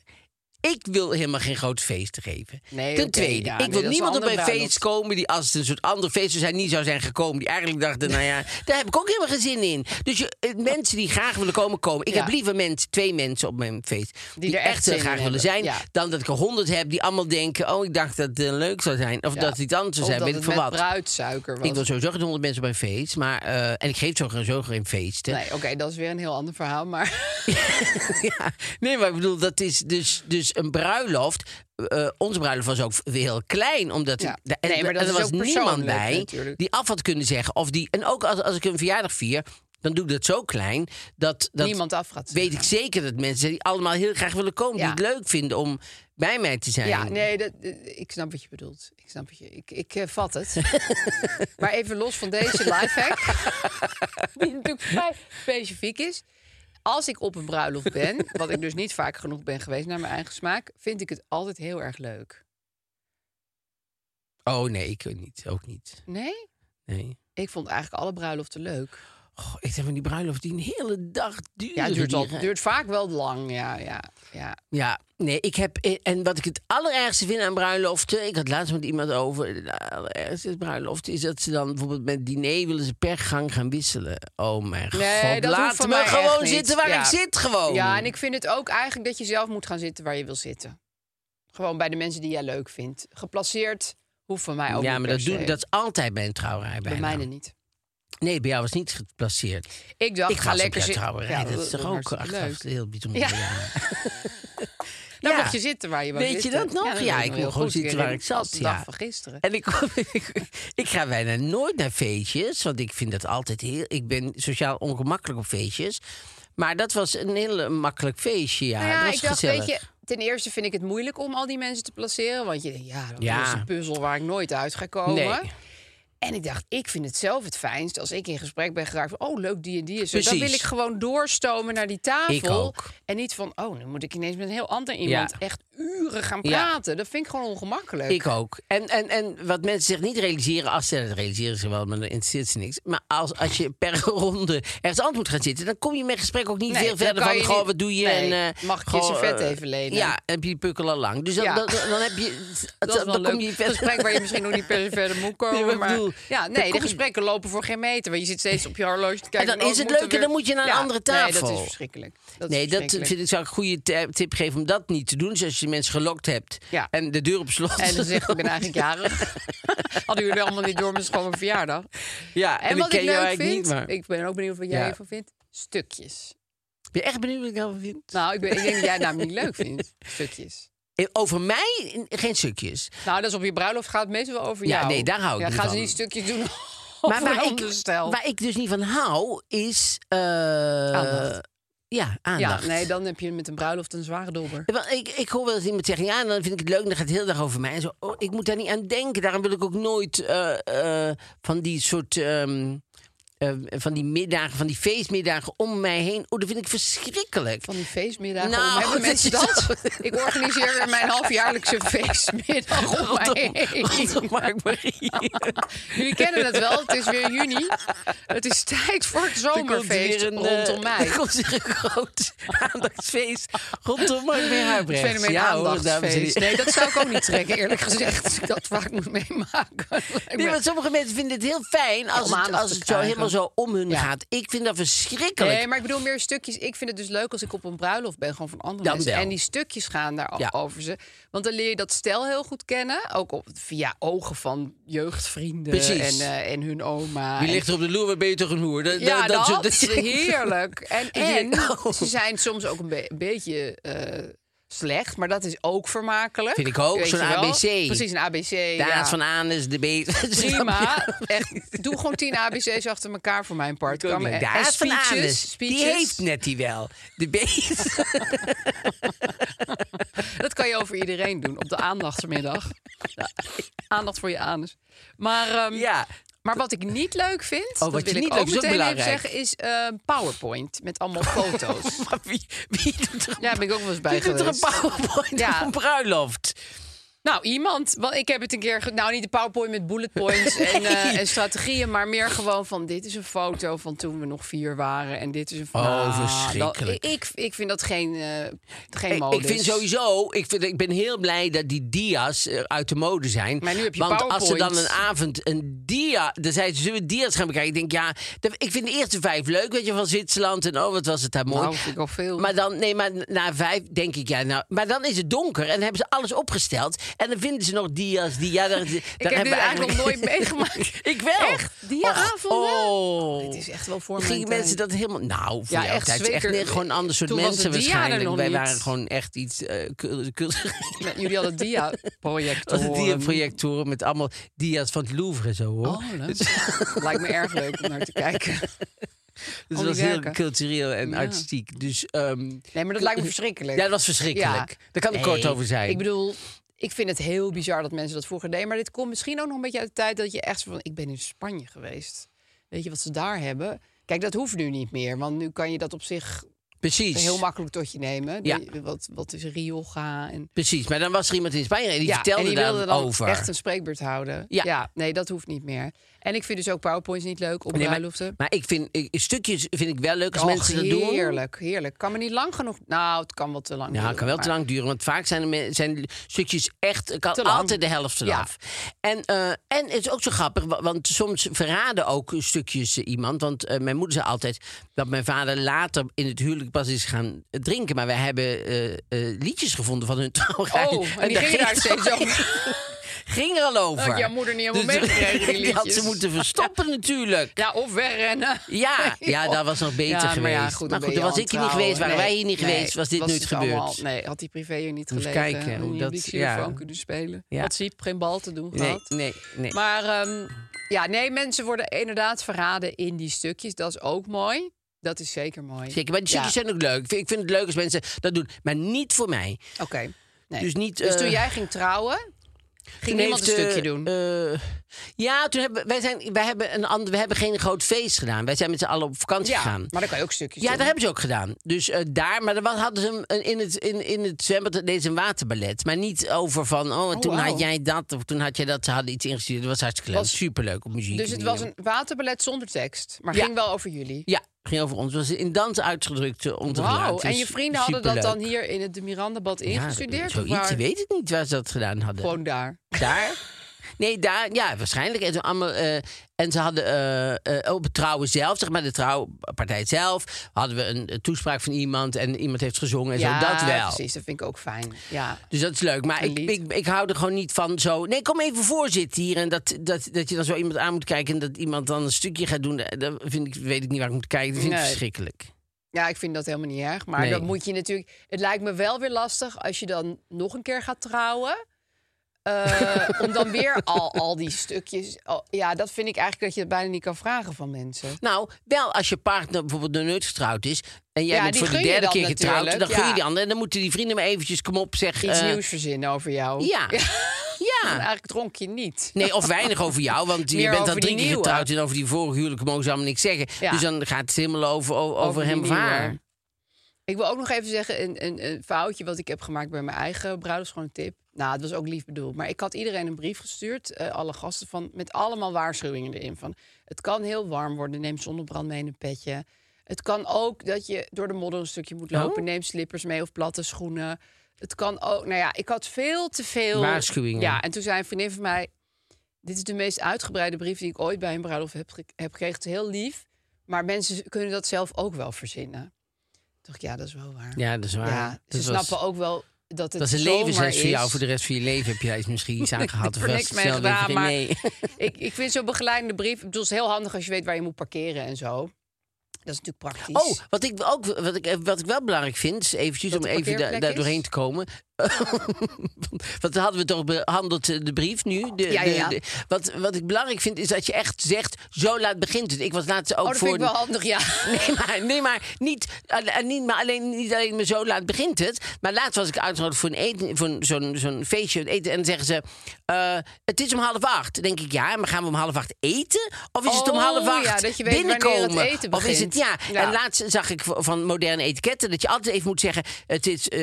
Speaker 2: ik wil helemaal geen groot feest geven.
Speaker 4: Nee,
Speaker 2: ten
Speaker 4: oké,
Speaker 2: tweede,
Speaker 4: ja,
Speaker 2: ik
Speaker 4: nee,
Speaker 2: wil
Speaker 4: dat is
Speaker 2: niemand
Speaker 4: een
Speaker 2: op een
Speaker 4: andere
Speaker 2: feest
Speaker 4: bruiloft.
Speaker 2: komen die als het een soort ander feest zou zijn, niet zou zijn gekomen. Die eigenlijk dachten, nou ja, daar heb ik ook helemaal geen zin in. Dus je, eh, mensen die graag willen komen, komen. Ik
Speaker 4: Ja.
Speaker 2: heb liever mensen, twee mensen op mijn feest die,
Speaker 4: er
Speaker 2: echt,
Speaker 4: echt
Speaker 2: heel
Speaker 4: zin in
Speaker 2: graag willen zijn,
Speaker 4: hebben, ja.
Speaker 2: dan dat ik er honderd heb die allemaal denken, oh, ik dacht dat het eh, leuk zou zijn. Of
Speaker 4: Ja.
Speaker 2: dat het iets anders zou
Speaker 4: Of
Speaker 2: zijn,
Speaker 4: dat
Speaker 2: weet ik
Speaker 4: het
Speaker 2: veel
Speaker 4: met
Speaker 2: wat.
Speaker 4: bruidsuiker was.
Speaker 2: Ik wil sowieso geen honderd mensen bij een feest, maar, eh, en ik geef sowieso geen feesten.
Speaker 4: Nee, oké, dat is weer een heel ander verhaal. Maar
Speaker 2: Ja, nee, maar ik bedoel, dat is dus, dus een bruiloft. eh, onze bruiloft was ook weer heel klein, omdat
Speaker 4: Ja.
Speaker 2: er- da-
Speaker 4: Nee, maar
Speaker 2: en
Speaker 4: dat
Speaker 2: er
Speaker 4: is
Speaker 2: was
Speaker 4: ook
Speaker 2: niemand
Speaker 4: persoonlijk
Speaker 2: bij
Speaker 4: natuurlijk.
Speaker 2: die af had kunnen zeggen. Of die, en ook als, als ik een verjaardag vier, dan doe ik dat zo klein dat, dat
Speaker 4: niemand af gaat
Speaker 2: weet ik zeker dat mensen die allemaal heel graag willen komen,
Speaker 4: Ja.
Speaker 2: die het leuk vinden om bij mij te zijn.
Speaker 4: Ja, nee, dat, eh, ik snap wat je bedoelt. Ik snap wat je. Ik, ik eh, vat het. maar even los van deze lifehack, die natuurlijk vrij specifiek is. Als ik op een bruiloft ben, wat ik dus niet vaak genoeg ben geweest naar mijn eigen smaak, vind ik het altijd heel erg leuk.
Speaker 2: Oh nee, ik niet, ook niet.
Speaker 4: Nee?
Speaker 2: Nee.
Speaker 4: Ik vond eigenlijk alle bruiloften leuk.
Speaker 2: Oh, ik zeg van die bruiloft die een hele dag duurt.
Speaker 4: Ja, het duurt, al, duurt vaak wel lang. Ja, ja, ja.
Speaker 2: Ja, nee, ik heb. eh, En wat ik het allerergste vind aan bruiloften. Ik had laatst met iemand over. Het allerergste is bruiloft. Is dat ze dan bijvoorbeeld met diner willen ze per gang gaan wisselen. Oh, mijn
Speaker 4: Nee,
Speaker 2: god.
Speaker 4: dat hoeft
Speaker 2: Laat
Speaker 4: voor
Speaker 2: me
Speaker 4: mij echt
Speaker 2: gewoon
Speaker 4: niet.
Speaker 2: zitten waar
Speaker 4: Ja.
Speaker 2: ik zit, gewoon.
Speaker 4: Ja, en ik vind het ook eigenlijk dat je zelf moet gaan zitten waar je wil zitten. Gewoon bij de mensen die jij leuk vindt. Geplaceerd hoeft van mij ook
Speaker 2: Ja,
Speaker 4: niet
Speaker 2: maar
Speaker 4: per
Speaker 2: dat,
Speaker 4: se.
Speaker 2: doe, dat is altijd bij een trouwerij.
Speaker 4: bij
Speaker 2: bijna.
Speaker 4: mij er niet.
Speaker 2: Nee, bij jou was niet geplaceerd.
Speaker 4: Ik dacht,
Speaker 2: ik
Speaker 4: ga
Speaker 2: was
Speaker 4: lekker
Speaker 2: op jouw
Speaker 4: zitten.
Speaker 2: trouwerij. dat is toch ook
Speaker 4: hartstikke
Speaker 2: achteraf
Speaker 4: leuk.
Speaker 2: heel bijzonder.
Speaker 4: Ja. Dan
Speaker 2: Ja.
Speaker 4: mocht je zitten waar je wou
Speaker 2: Weet je
Speaker 4: zitten.
Speaker 2: dat nog?
Speaker 4: dat
Speaker 2: Ja, ik
Speaker 4: weet nog
Speaker 2: mocht
Speaker 4: heel
Speaker 2: gewoon
Speaker 4: goed.
Speaker 2: zitten waar ik
Speaker 4: herinner me
Speaker 2: zat,
Speaker 4: als de dag
Speaker 2: ja.
Speaker 4: van gisteren.
Speaker 2: En ik, ik, ga bijna nooit naar feestjes, want ik vind dat altijd heel. Ik ben sociaal ongemakkelijk op feestjes. Maar dat was een heel makkelijk feestje, ja.
Speaker 4: Nou ja,
Speaker 2: dat was
Speaker 4: ik dacht,
Speaker 2: gezellig.
Speaker 4: weet je, ten eerste vind ik het moeilijk om al die mensen te placeren. Want je denkt, ja, dat
Speaker 2: Ja.
Speaker 4: is een puzzel waar ik nooit uit ga komen.
Speaker 2: Nee.
Speaker 4: En ik dacht, ik vind het zelf het fijnst als ik in gesprek ben geraakt van, oh leuk die en die is. er. Dan
Speaker 2: Precies.
Speaker 4: wil ik gewoon doorstomen naar die tafel.
Speaker 2: Ik ook.
Speaker 4: En niet van, oh, nu moet ik ineens met een heel ander iemand
Speaker 2: Ja.
Speaker 4: echt uren gaan
Speaker 2: Ja.
Speaker 4: praten. Dat vind ik gewoon ongemakkelijk.
Speaker 2: Ik ook. En, en, en wat mensen zich niet realiseren, als ze dat realiseren ze wel, maar dan interesseert ze niks. Maar als, als je per ronde ergens anders moet gaan zitten, dan kom je met gesprek ook niet
Speaker 4: Nee,
Speaker 2: veel
Speaker 4: dan
Speaker 2: verder
Speaker 4: kan
Speaker 2: van.
Speaker 4: je
Speaker 2: Gewoon,
Speaker 4: niet-
Speaker 2: wat doe je?
Speaker 4: Nee,
Speaker 2: en, eh,
Speaker 4: mag ik je
Speaker 2: gewoon,
Speaker 4: servet
Speaker 2: eh,
Speaker 4: even lenen?
Speaker 2: Ja, en heb je die pukkel al lang. Dus dan,
Speaker 4: Ja.
Speaker 2: dan, dan, heb je.
Speaker 4: dat is wel
Speaker 2: dan
Speaker 4: leuk.
Speaker 2: kom je verder.
Speaker 4: gesprek waar je misschien nog niet per se verder moet komen.
Speaker 2: Nee, maar ik
Speaker 4: maar
Speaker 2: bedoel,
Speaker 4: ja,
Speaker 2: dan
Speaker 4: nee,
Speaker 2: kom
Speaker 4: de
Speaker 2: je-
Speaker 4: gesprekken lopen voor geen meter. Want je zit steeds op je horloge te kijken.
Speaker 2: dan
Speaker 4: oh,
Speaker 2: is het
Speaker 4: we moeten
Speaker 2: leuk en dan moet je naar een andere
Speaker 4: Nee, dat is
Speaker 2: tafel.
Speaker 4: verschrikkelijk. Dat is
Speaker 2: nee, dat
Speaker 4: verschrikkelijk.
Speaker 2: vind ik zou ik een goede ti- tip geven om dat niet te doen. Dus als je mensen gelokt hebt
Speaker 4: Ja.
Speaker 2: en de deur op slot.
Speaker 4: En dan zegt, ik ben eigenlijk jarig. Hadden jullie allemaal niet door, maar het is gewoon mijn verjaardag.
Speaker 2: ja,
Speaker 4: En,
Speaker 2: en,
Speaker 4: wat
Speaker 2: ken
Speaker 4: ik
Speaker 2: jou
Speaker 4: leuk
Speaker 2: eigenlijk
Speaker 4: vind,
Speaker 2: niet. Maar... Ik
Speaker 4: ik ben ook benieuwd wat jij
Speaker 2: Ja.
Speaker 4: ervan vindt, stukjes.
Speaker 2: ben echt benieuwd wat ik daarvan vind.
Speaker 4: Nou, ik, ben, ik denk dat jij het namelijk niet leuk vindt, stukjes.
Speaker 2: Eh, Over mij eh, geen stukjes.
Speaker 4: Nou, dat is op je bruiloft gaat het meestal wel over
Speaker 2: Ja,
Speaker 4: jou.
Speaker 2: nee, daar hou ik
Speaker 4: ja,
Speaker 2: niet
Speaker 4: gaan ze
Speaker 2: van.
Speaker 4: niet stukjes doen maar,
Speaker 2: waar
Speaker 4: ik, stel.
Speaker 2: waar ik dus niet van hou, is. eh,
Speaker 4: Aandacht.
Speaker 2: Ja,
Speaker 4: ja,
Speaker 2: aandacht.
Speaker 4: nee, dan heb je met een bruiloft een zware dobber.
Speaker 2: Wel, Ik, ik hoor wel eens iemand zeggen, ja, en dan vind ik het leuk, dan gaat het heel dag over mij. En zo, oh, ik moet daar niet aan denken. Daarom wil ik ook nooit eh, eh, van die soort, ehm, eh, van die middagen, van die feestmiddagen om mij heen. Oh, dat vind ik verschrikkelijk.
Speaker 4: Van die feestmiddagen.
Speaker 2: Nou,
Speaker 4: Nou, hebben
Speaker 2: dat
Speaker 4: mensen
Speaker 2: is
Speaker 4: dat?
Speaker 2: zo-
Speaker 4: Ik organiseer weer mijn halfjaarlijkse feestmiddag om mij heen.
Speaker 2: Rondom Mark Marie.
Speaker 4: Oh, Jullie kennen het wel, het is weer juni. Het is tijd voor het
Speaker 2: Er komt
Speaker 4: zomerfeest
Speaker 2: weer een, eh,
Speaker 4: rondom mij.
Speaker 2: Er komt weer een groot aandachtsfeest rondom Mark Marie
Speaker 4: Het
Speaker 2: Huibrechts.
Speaker 4: fenomeen
Speaker 2: Ja, hoor, dames en
Speaker 4: aandachtsfeest.
Speaker 2: heren.
Speaker 4: Nee, dat zou ik ook niet trekken, eerlijk gezegd. Als ik dat vaak moet meemaken. Ik
Speaker 2: Nee,
Speaker 4: ben-
Speaker 2: want sommige mensen vinden het heel fijn als
Speaker 4: Om
Speaker 2: het,
Speaker 4: aandacht
Speaker 2: als
Speaker 4: te
Speaker 2: het zo helemaal
Speaker 4: krijgen.
Speaker 2: zo om hun
Speaker 4: Ja.
Speaker 2: gaat. Ik vind dat verschrikkelijk.
Speaker 4: Nee, maar ik bedoel meer stukjes. Ik vind het dus leuk als ik op een bruiloft ben, gewoon van andere
Speaker 2: Dan
Speaker 4: mensen.
Speaker 2: wel.
Speaker 4: En die stukjes gaan daar
Speaker 2: Ja.
Speaker 4: over ze. Want dan leer je dat stijl heel goed kennen. Ook op, via ogen van jeugdvrienden
Speaker 2: Precies.
Speaker 4: En, eh, en hun oma.
Speaker 2: Wie
Speaker 4: En-
Speaker 2: ligt er op de loer, wat ben je toch een hoer? Dat,
Speaker 4: ja, dat,
Speaker 2: soort-
Speaker 4: is heerlijk. En, en
Speaker 2: denk, oh.
Speaker 4: ze zijn soms ook een be- een beetje eh, slecht, maar dat is ook vermakelijk.
Speaker 2: Vind ik ook,
Speaker 4: Weet
Speaker 2: zo'n
Speaker 4: je wel?
Speaker 2: ABC.
Speaker 4: Precies, een ABC.
Speaker 2: De
Speaker 4: ja.
Speaker 2: aard van Anus, de beet.
Speaker 4: Prima. Echt, doe gewoon tien ABC's achter elkaar voor mijn part. Kan me-
Speaker 2: De
Speaker 4: en
Speaker 2: aard van
Speaker 4: speeches,
Speaker 2: Anus, die
Speaker 4: speeches.
Speaker 2: heeft net die wel. De beet.
Speaker 4: Dat kan je over iedereen doen op de aandachtsmiddag. Ja. Aandacht voor je anus. Maar, ehm,
Speaker 2: ja. Oh,
Speaker 4: maar wat ik niet leuk vind, dat
Speaker 2: wat je
Speaker 4: wil
Speaker 2: niet
Speaker 4: ik
Speaker 2: leuk
Speaker 4: ook
Speaker 2: vindt, is ook
Speaker 4: meteen even
Speaker 2: belangrijk.
Speaker 4: zeggen, is eh, PowerPoint met allemaal foto's.
Speaker 2: Maar wie, wie doet er,
Speaker 4: Ja, daar ben ik ook wel eens bij
Speaker 2: wie doet er een
Speaker 4: geweest.
Speaker 2: powerpoint
Speaker 4: Ja.
Speaker 2: op een bruiloft?
Speaker 4: Nou, iemand. Want ik heb het een keer. ge- Nou, niet de PowerPoint met bullet points en, eh, en strategieën. Maar meer gewoon van: dit is een foto van toen we nog vier waren. En dit is een foto.
Speaker 2: Oh, verschrikkelijk.
Speaker 4: ik, ik vind dat geen, eh geen
Speaker 2: Ik,
Speaker 4: modus.
Speaker 2: ik vind sowieso, ik, vind, ik ben heel blij dat die dia's eh, uit de mode zijn.
Speaker 4: Maar nu heb je
Speaker 2: Want als ze dan
Speaker 4: PowerPoint.
Speaker 2: een avond een dia, dan zei ze, zullen we dia's gaan bekijken? Ik denk, ja, dat- ik vind de eerste vijf leuk, weet je, van Zwitserland en oh, wat was het daar mooi.
Speaker 4: Nou, vind ik al veel.
Speaker 2: Maar dan, nee, maar na vijf denk ik, ja, nou, maar dan is het donker en dan hebben ze alles opgesteld. En dan vinden ze nog dia's, die, ja, daar, daar
Speaker 4: ik heb
Speaker 2: hebben
Speaker 4: dit
Speaker 2: we
Speaker 4: eigenlijk nog nooit meegemaakt.
Speaker 2: ik wel.
Speaker 4: Echt? Diaavonden?
Speaker 2: Oh.
Speaker 4: Het is echt wel voor mijn
Speaker 2: Gingen
Speaker 4: tijd.
Speaker 2: mensen dat helemaal... Nou, voor
Speaker 4: Ja,
Speaker 2: jouw
Speaker 4: echt
Speaker 2: tijd is echt
Speaker 4: zeker.
Speaker 2: nee, gewoon een ander soort
Speaker 4: Toen was
Speaker 2: mensen
Speaker 4: het dia er
Speaker 2: waarschijnlijk.
Speaker 4: nog
Speaker 2: Wij
Speaker 4: niet.
Speaker 2: waren gewoon echt iets eh, cul- cultureel.
Speaker 4: Met jullie hadden dia-projectoren.
Speaker 2: Dia-projectoren met allemaal dia's van het Louvre en zo, hoor.
Speaker 4: Oh, leuk. Lijkt me erg leuk om naar te kijken.
Speaker 2: Dus het
Speaker 4: al die
Speaker 2: was heel
Speaker 4: werken.
Speaker 2: cultureel en artistiek. Dus, ehm,
Speaker 4: Nee, maar dat lijkt me verschrikkelijk.
Speaker 2: Ja, dat was verschrikkelijk.
Speaker 4: Ja.
Speaker 2: Daar kan ik
Speaker 4: Nee,
Speaker 2: kort over zijn.
Speaker 4: Ik bedoel, ik vind het heel bizar dat mensen dat vroeger deden. Maar dit komt misschien ook nog een beetje uit de tijd dat je echt zo van... Ik ben in Spanje geweest. Weet je wat ze daar hebben? Kijk, dat hoeft nu niet meer. Want nu kan je dat op zich
Speaker 2: Precies.
Speaker 4: heel makkelijk tot je nemen.
Speaker 2: Ja.
Speaker 4: Die- wat, wat is Rioja? En,
Speaker 2: Precies, maar dan was er iemand in Spanje en die
Speaker 4: ja,
Speaker 2: vertelde
Speaker 4: en die wilde dan
Speaker 2: over.
Speaker 4: echt een spreekbeurt houden.
Speaker 2: Ja.
Speaker 4: nee, dat hoeft niet meer. En ik vind dus ook powerpoints niet leuk op
Speaker 2: Nee, maar,
Speaker 4: bruiloften.
Speaker 2: maar ik vind ik- stukjes vind ik wel leuk als
Speaker 4: Och,
Speaker 2: mensen dat doen.
Speaker 4: heerlijk, heerlijk. Kan me niet lang genoeg... Nou, het kan wel te lang
Speaker 2: Ja,
Speaker 4: duren,
Speaker 2: het kan wel te
Speaker 4: maar-
Speaker 2: lang duren, want vaak zijn, de me- zijn stukjes echt ik kan
Speaker 4: Te lang.
Speaker 2: altijd de helft eraf. En, eh, en het is ook zo grappig, wa- want soms verraden ook stukjes eh, iemand. Want eh, mijn moeder zei altijd dat mijn vader later in het huwelijk pas is gaan eh, drinken. Maar wij hebben eh, eh, liedjes gevonden van hun trouwrij.
Speaker 4: Oh, en die
Speaker 2: daar
Speaker 4: gingen daar
Speaker 2: het-
Speaker 4: steeds over.
Speaker 2: Ging er al over. Dus
Speaker 4: Had jouw moeder niet helemaal meegekregen, die
Speaker 2: Die had
Speaker 4: liedjes.
Speaker 2: ze moeten verstoppen natuurlijk.
Speaker 4: Ja, of wegrennen.
Speaker 2: Ja, ja, dat was nog beter
Speaker 4: Ja, maar ja,
Speaker 2: geweest.
Speaker 4: goed,
Speaker 2: maar goed,
Speaker 4: dan ben
Speaker 2: dan
Speaker 4: je
Speaker 2: was
Speaker 4: al
Speaker 2: ik hier niet
Speaker 4: trouwen.
Speaker 2: geweest, waren
Speaker 4: Nee,
Speaker 2: wij hier niet
Speaker 4: nee,
Speaker 2: geweest, was dit
Speaker 4: was
Speaker 2: nooit
Speaker 4: het
Speaker 2: gebeurd.
Speaker 4: allemaal- nee, had die privé hier niet
Speaker 2: Moet
Speaker 4: gelezen.
Speaker 2: even kijken hoe dat- ja.
Speaker 4: kunnen spelen.
Speaker 2: Ja.
Speaker 4: Had ze hier geen bal te doen
Speaker 2: nee,
Speaker 4: gehad.
Speaker 2: nee, nee.
Speaker 4: Maar ehm, ja, nee, mensen worden inderdaad verraden in die stukjes. Dat is ook mooi. Dat is zeker mooi.
Speaker 2: Zeker, maar die
Speaker 4: Ja.
Speaker 2: stukjes zijn ook leuk. Ik vind, ik vind het leuk als mensen dat doen, maar niet voor mij.
Speaker 4: Oké. Nee.
Speaker 2: Dus niet, eh,
Speaker 4: toen jij ging trouwen, ging
Speaker 2: Toen
Speaker 4: niemand een
Speaker 2: heeft, eh,
Speaker 4: stukje doen.
Speaker 2: eh, ja, toen hebben wij zijn, wij hebben een ander, we hebben geen groot feest gedaan. Wij zijn met z'n allen op vakantie
Speaker 4: ja,
Speaker 2: gegaan.
Speaker 4: maar dan kan je ook stukjes
Speaker 2: Ja,
Speaker 4: doen.
Speaker 2: dat hebben ze ook gedaan. Dus eh, daar, maar dan wa- hadden ze hem eh, in het, in, in het zwembad deden ze een waterballet. Maar niet over van, oh, en
Speaker 4: Oh,
Speaker 2: toen
Speaker 4: wauw.
Speaker 2: had jij dat, of toen had jij dat. Ze hadden iets ingestuurd. Dat was hartstikke leuk.
Speaker 4: Was-
Speaker 2: Superleuk op muziek.
Speaker 4: Dus het
Speaker 2: en
Speaker 4: was
Speaker 2: dingen.
Speaker 4: een waterballet zonder tekst. Maar
Speaker 2: Ja.
Speaker 4: ging wel over jullie.
Speaker 2: Ja, ging over ons. Was in dans uitgedrukt eh, om te
Speaker 4: Wauw,
Speaker 2: gebruiken.
Speaker 4: en je
Speaker 2: Dus
Speaker 4: vrienden hadden dat
Speaker 2: superleuk.
Speaker 4: dan hier in het de Mirandabad
Speaker 2: Ja,
Speaker 4: ingestudeerd? of
Speaker 2: zoiets,
Speaker 4: waar?
Speaker 2: weet ik niet waar ze dat gedaan hadden.
Speaker 4: Gewoon daar.
Speaker 2: daar. Nee, daar, ja, waarschijnlijk. En, ze allemaal, eh, en ze hadden eh, eh, op het trouwen zelf, zeg maar, de trouwpartij zelf, hadden we een, eh, toespraak van iemand en iemand heeft gezongen en zo. Dat wel.
Speaker 4: precies. Dat vind ik ook fijn. Ja.
Speaker 2: Dus dat is leuk. Maar
Speaker 4: Een
Speaker 2: ik,
Speaker 4: lied.
Speaker 2: ik, ik hou er gewoon niet van zo. Nee, kom even voorzitten hier. En dat, dat, dat je dan zo iemand aan moet kijken en dat iemand dan een stukje gaat doen. eh, Dat vind ik, weet ik niet waar ik moet kijken. Dat vind ik
Speaker 4: Nee.
Speaker 2: verschrikkelijk.
Speaker 4: ja, ik vind dat helemaal niet erg. Maar
Speaker 2: Nee.
Speaker 4: dat moet je natuurlijk... Het lijkt me wel weer lastig als je dan nog een keer gaat trouwen. eh, om dan weer al, al die stukjes... al- ja, dat vind ik eigenlijk dat je het bijna niet kan vragen van mensen.
Speaker 2: Nou, wel als je partner bijvoorbeeld nog nooit getrouwd is. En jij
Speaker 4: Ja,
Speaker 2: bent
Speaker 4: die
Speaker 2: voor de
Speaker 4: gun je
Speaker 2: derde
Speaker 4: dan
Speaker 2: keer getrouwd. Dan
Speaker 4: natuurlijk,
Speaker 2: gun je
Speaker 4: ja.
Speaker 2: die ander. En dan moeten die vrienden maar eventjes, kom op, zeg.
Speaker 4: Iets
Speaker 2: eh,
Speaker 4: nieuws verzinnen over jou.
Speaker 2: Ja.
Speaker 4: En
Speaker 2: ja.
Speaker 4: Eigenlijk dronk je niet.
Speaker 2: Nee, of weinig over jou, want je
Speaker 4: Meer
Speaker 2: bent al
Speaker 4: over die
Speaker 2: drie keer
Speaker 4: nieuwe.
Speaker 2: getrouwd en over die vorige huwelijk mogen ze allemaal niks zeggen.
Speaker 4: Ja.
Speaker 2: Dus dan gaat het helemaal over, o- over,
Speaker 4: Over die
Speaker 2: hem of haar.
Speaker 4: nieuwe. Ik wil ook nog even zeggen, een, een, een foutje wat ik heb gemaakt bij mijn eigen bruiloft, gewoon een tip. Nou, het was ook lief bedoeld. Maar ik had iedereen een brief gestuurd, eh, alle gasten, van, met allemaal waarschuwingen erin. Van, het kan heel warm worden, neem zonnebrand mee en een petje. Het kan ook dat je door de modder een stukje moet lopen.
Speaker 2: Oh.
Speaker 4: Neem slippers mee of platte schoenen. Het kan ook, nou ja, ik had veel te veel...
Speaker 2: Waarschuwingen.
Speaker 4: Ja, en toen zei een vriendin van mij... Dit is de meest uitgebreide brief die ik ooit bij een bruiloft heb, ge- heb gekregen. Het is heel lief, maar mensen kunnen dat zelf ook wel verzinnen. Toch, ja, dat is wel waar.
Speaker 2: Ja, dat is waar.
Speaker 4: Ja, ze
Speaker 2: dat was,
Speaker 4: snappen ook wel dat het
Speaker 2: dat is een
Speaker 4: zomer
Speaker 2: levensles voor
Speaker 4: is.
Speaker 2: jou. Voor de rest van je leven heb jij misschien iets aan gehad.
Speaker 4: Ik heb er
Speaker 2: was
Speaker 4: niks
Speaker 2: het
Speaker 4: mee
Speaker 2: snel weer
Speaker 4: gedaan,
Speaker 2: vergeten?
Speaker 4: maar
Speaker 2: Nee.
Speaker 4: ik, ik vind zo'n begeleidende brief... Ik bedoel, het is heel handig als je weet waar je moet parkeren en zo. Dat is natuurlijk praktisch.
Speaker 2: Oh, wat ik, ook, wat, ik, wat ik wel belangrijk vind, is eventjes
Speaker 4: Dat
Speaker 2: om
Speaker 4: de
Speaker 2: even da-
Speaker 4: parkeerplek
Speaker 2: daar
Speaker 4: is?
Speaker 2: doorheen te komen. Want hadden we toch behandeld eh, de brief nu? De,
Speaker 4: Ja, ja, ja.
Speaker 2: de- de- wat, wat ik belangrijk vind, is dat je echt zegt, zo laat begint het. Ik was laatst ook
Speaker 4: oh dat
Speaker 2: voor...
Speaker 4: vind ik wel handig, ja.
Speaker 2: Nee, maar, nee, maar, niet, eh, eh, niet, maar alleen, niet alleen maar zo laat begint het. Maar laatst was ik uitgenodigd voor, een eten, voor een- zo'n zo'n feestje. een eten, en dan zeggen ze, eh, het is om half acht. Dan denk ik, ja, maar gaan we om half acht eten? Of is het om
Speaker 4: Oh,
Speaker 2: half acht
Speaker 4: ja, dat je weet wanneer het
Speaker 2: binnenkomen?
Speaker 4: eten
Speaker 2: of is het, ja.
Speaker 4: begint. Ja.
Speaker 2: En laatst zag ik v- van moderne etiketten... dat je altijd even moet zeggen, het is, eh,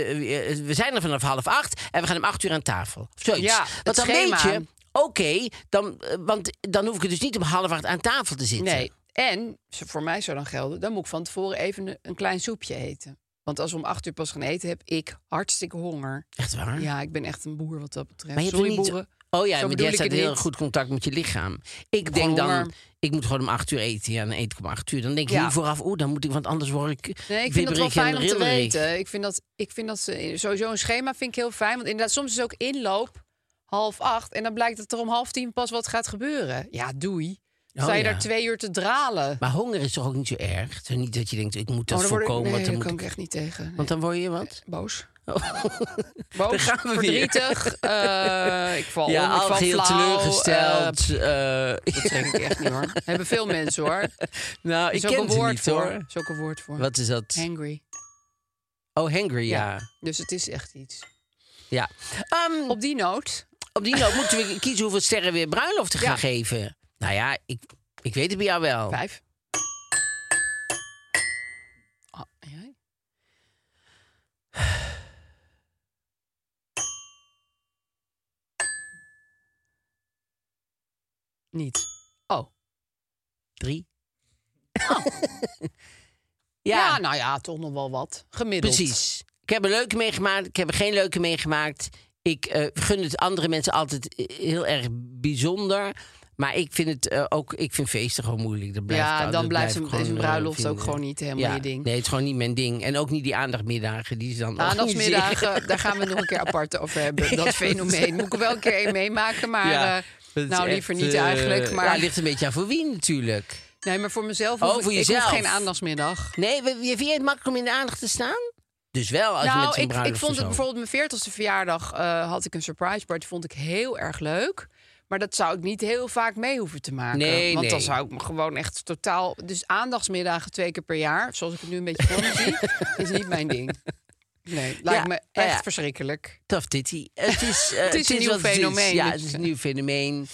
Speaker 2: eh, we zijn er vanaf half acht... en we gaan om acht uur aan tafel. Of zoiets.
Speaker 4: Ja,
Speaker 2: Want
Speaker 4: het
Speaker 2: dan weet
Speaker 4: schema.
Speaker 2: je, oké, dan, eh, want dan hoef ik er dus niet om half acht aan tafel te zitten.
Speaker 4: Nee, en zo- voor mij zou dan gelden... dan moet ik van tevoren even een, een klein soepje eten. Want als we om acht uur pas gaan eten, heb ik hartstikke honger.
Speaker 2: Echt waar?
Speaker 4: Ja, ik ben echt een boer wat dat betreft.
Speaker 2: Ah. Maar je hebt
Speaker 4: Sorry,
Speaker 2: er niet...
Speaker 4: boeren.
Speaker 2: Oh ja,
Speaker 4: Zo
Speaker 2: maar
Speaker 4: bedoel
Speaker 2: jij
Speaker 4: ik
Speaker 2: staat
Speaker 4: het
Speaker 2: heel
Speaker 4: niet.
Speaker 2: goed contact met je lichaam. Ik
Speaker 4: heb
Speaker 2: denk
Speaker 4: gewoon
Speaker 2: dan,
Speaker 4: honger.
Speaker 2: ik moet gewoon om acht uur eten. Ja, dan eet ik om acht uur. Dan denk je
Speaker 4: Ja.
Speaker 2: hier vooraf, oeh, dan moet ik, want anders word ik
Speaker 4: Nee, ik vind dat
Speaker 2: wibberig
Speaker 4: wel
Speaker 2: en
Speaker 4: fijn om te
Speaker 2: rillerig.
Speaker 4: weten. Ik vind dat, ik vind dat ze, sowieso een schema vind ik heel fijn. Want inderdaad, soms is ook inloop half acht. En dan blijkt dat er om half tien pas wat gaat gebeuren. Ja, doei.
Speaker 2: Oh,
Speaker 4: Sta je
Speaker 2: ja.
Speaker 4: daar twee uur te dralen?
Speaker 2: Maar honger is toch ook niet zo erg? Het is niet dat je denkt, ik moet dat
Speaker 4: Oh, dan word ik-
Speaker 2: voorkomen.
Speaker 4: nee,
Speaker 2: want, dan
Speaker 4: daar kan
Speaker 2: moet
Speaker 4: ik
Speaker 2: ik-
Speaker 4: echt niet tegen. Nee.
Speaker 2: want dan word je wat?
Speaker 4: Boos.
Speaker 2: Oh.
Speaker 4: Boos,
Speaker 2: Daar gaan we weer.
Speaker 4: verdrietig. eh, ik val om,
Speaker 2: ja,
Speaker 4: ik val
Speaker 2: algeheel
Speaker 4: flauw, eh,
Speaker 2: teleurgesteld. eh,
Speaker 4: dat trek ik echt niet hoor. Hebben veel mensen hoor.
Speaker 2: nou, ik
Speaker 4: is ook
Speaker 2: ken
Speaker 4: een
Speaker 2: het
Speaker 4: woord
Speaker 2: niet
Speaker 4: voor.
Speaker 2: hoor.
Speaker 4: Is ook een woord voor.
Speaker 2: Wat is dat?
Speaker 4: Hangry.
Speaker 2: Oh, hangry, ja. ja.
Speaker 4: Dus het is echt iets.
Speaker 2: Ehm,
Speaker 4: Op die noot.
Speaker 2: Op die noot moeten we kiezen hoeveel sterren we bruiloft te gaan geven. Nou ja, ik, Oh. ik weet het bij jou wel.
Speaker 4: Vijf. Ah, en jij? Niet. Oh.
Speaker 2: Drie.
Speaker 4: Ja.
Speaker 2: ja,
Speaker 4: nou ja, toch nog wel wat. Gemiddeld.
Speaker 2: precies. Ik heb een leuke meegemaakt. Ik heb er geen leuke meegemaakt. Ik eh, gun het andere mensen altijd eh, heel erg bijzonder. Maar ik vind het eh, ook. Ik vind feesten gewoon moeilijk. Dat blijft
Speaker 4: Ja,
Speaker 2: dat
Speaker 4: dan blijft
Speaker 2: ik
Speaker 4: een,
Speaker 2: gewoon,
Speaker 4: is een
Speaker 2: eh,
Speaker 4: bruiloft
Speaker 2: vinden.
Speaker 4: ook gewoon niet helemaal je ding.
Speaker 2: Nee, het is gewoon niet mijn ding. En ook niet die aandachtmiddagen die ze dan
Speaker 4: Nou,
Speaker 2: organiseren.
Speaker 4: Aandachtsmiddagen, daar gaan we nog een keer apart over hebben.
Speaker 2: Ja,
Speaker 4: Dat
Speaker 2: dat-
Speaker 4: fenomeen. Moet ik er wel een keer één meemaken, maar...
Speaker 2: Ja,
Speaker 4: eh,
Speaker 2: dat is
Speaker 4: nou,
Speaker 2: echt,
Speaker 4: liever niet
Speaker 2: eh,
Speaker 4: eigenlijk, maar-
Speaker 2: Ja, ligt een beetje aan voor wie natuurlijk.
Speaker 4: nee, maar voor mezelf
Speaker 2: Oh,
Speaker 4: hoef ik,
Speaker 2: voor
Speaker 4: ik hoef
Speaker 2: jezelf.
Speaker 4: geen aandachtsmiddag.
Speaker 2: Nee, we- vind je het makkelijk om in de aandacht te staan? Dus wel als je met
Speaker 4: nou,
Speaker 2: zo'n
Speaker 4: ik, ik
Speaker 2: bruiloft
Speaker 4: vond het
Speaker 2: of zo.
Speaker 4: bijvoorbeeld mijn veertigste verjaardag eh, had ik een surprise party. Vond ik heel erg leuk. Maar dat zou ik niet heel vaak mee hoeven te maken.
Speaker 2: Nee,
Speaker 4: want dan
Speaker 2: nee.
Speaker 4: zou ik me gewoon echt totaal. Dus aandachtsmiddagen twee keer per jaar, zoals ik het nu een beetje voor me zie, is niet mijn ding. Nee, lijkt
Speaker 2: Ja,
Speaker 4: me
Speaker 2: nou
Speaker 4: echt
Speaker 2: ja.
Speaker 4: verschrikkelijk.
Speaker 2: Tough titty. Het is, eh,
Speaker 4: Het is een nieuw
Speaker 2: wat het is.
Speaker 4: fenomeen.
Speaker 2: Ja, het is een nieuw fenomeen.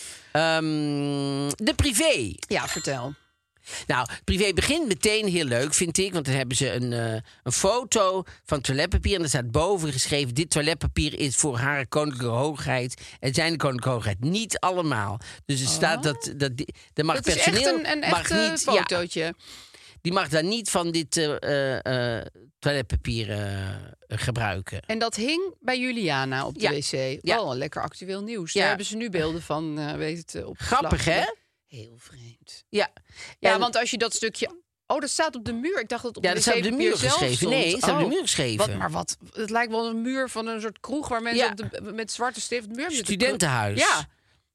Speaker 2: Ehm, de privé.
Speaker 4: Ja, vertel.
Speaker 2: Nou, privé begint meteen heel leuk, vind ik. Want dan hebben ze een, eh, een foto van toiletpapier. En er staat boven geschreven: Dit toiletpapier is voor haar koninklijke hoogheid. En zijn koninklijke hoogheid. Niet allemaal. Dus er staat dat. dat, die- er mag
Speaker 4: Oh. Dat is echt
Speaker 2: personeel.
Speaker 4: een, een
Speaker 2: mag
Speaker 4: echt eh,
Speaker 2: niet, ja,
Speaker 4: fotootje.
Speaker 2: die mag daar niet van dit eh, eh, eh, toiletpapier eh, gebruiken.
Speaker 4: En dat hing bij Juliana op de
Speaker 2: Ja,
Speaker 4: wc.
Speaker 2: ja.
Speaker 4: Wel een lekker actueel nieuws.
Speaker 2: Ja.
Speaker 4: Daar hebben ze nu beelden van, eh, weet het, eh, op
Speaker 2: Grappig,
Speaker 4: opgeslagen.
Speaker 2: hè?
Speaker 4: Heel vreemd.
Speaker 2: Ja,
Speaker 4: Ja,
Speaker 2: En-
Speaker 4: want als je dat stukje... Oh, dat staat op de muur. Ik dacht dat het op
Speaker 2: Ja,
Speaker 4: de
Speaker 2: dat staat op de
Speaker 4: wc-papier
Speaker 2: muur
Speaker 4: zelf
Speaker 2: geschreven.
Speaker 4: stond.
Speaker 2: Nee, dat staat op de
Speaker 4: Oh.
Speaker 2: muur geschreven.
Speaker 4: Wat, maar wat? Het lijkt wel een muur van een soort kroeg... waar mensen
Speaker 2: Ja.
Speaker 4: op de, met zwarte stift de muur zitten.
Speaker 2: Studentenhuis.
Speaker 4: Ja.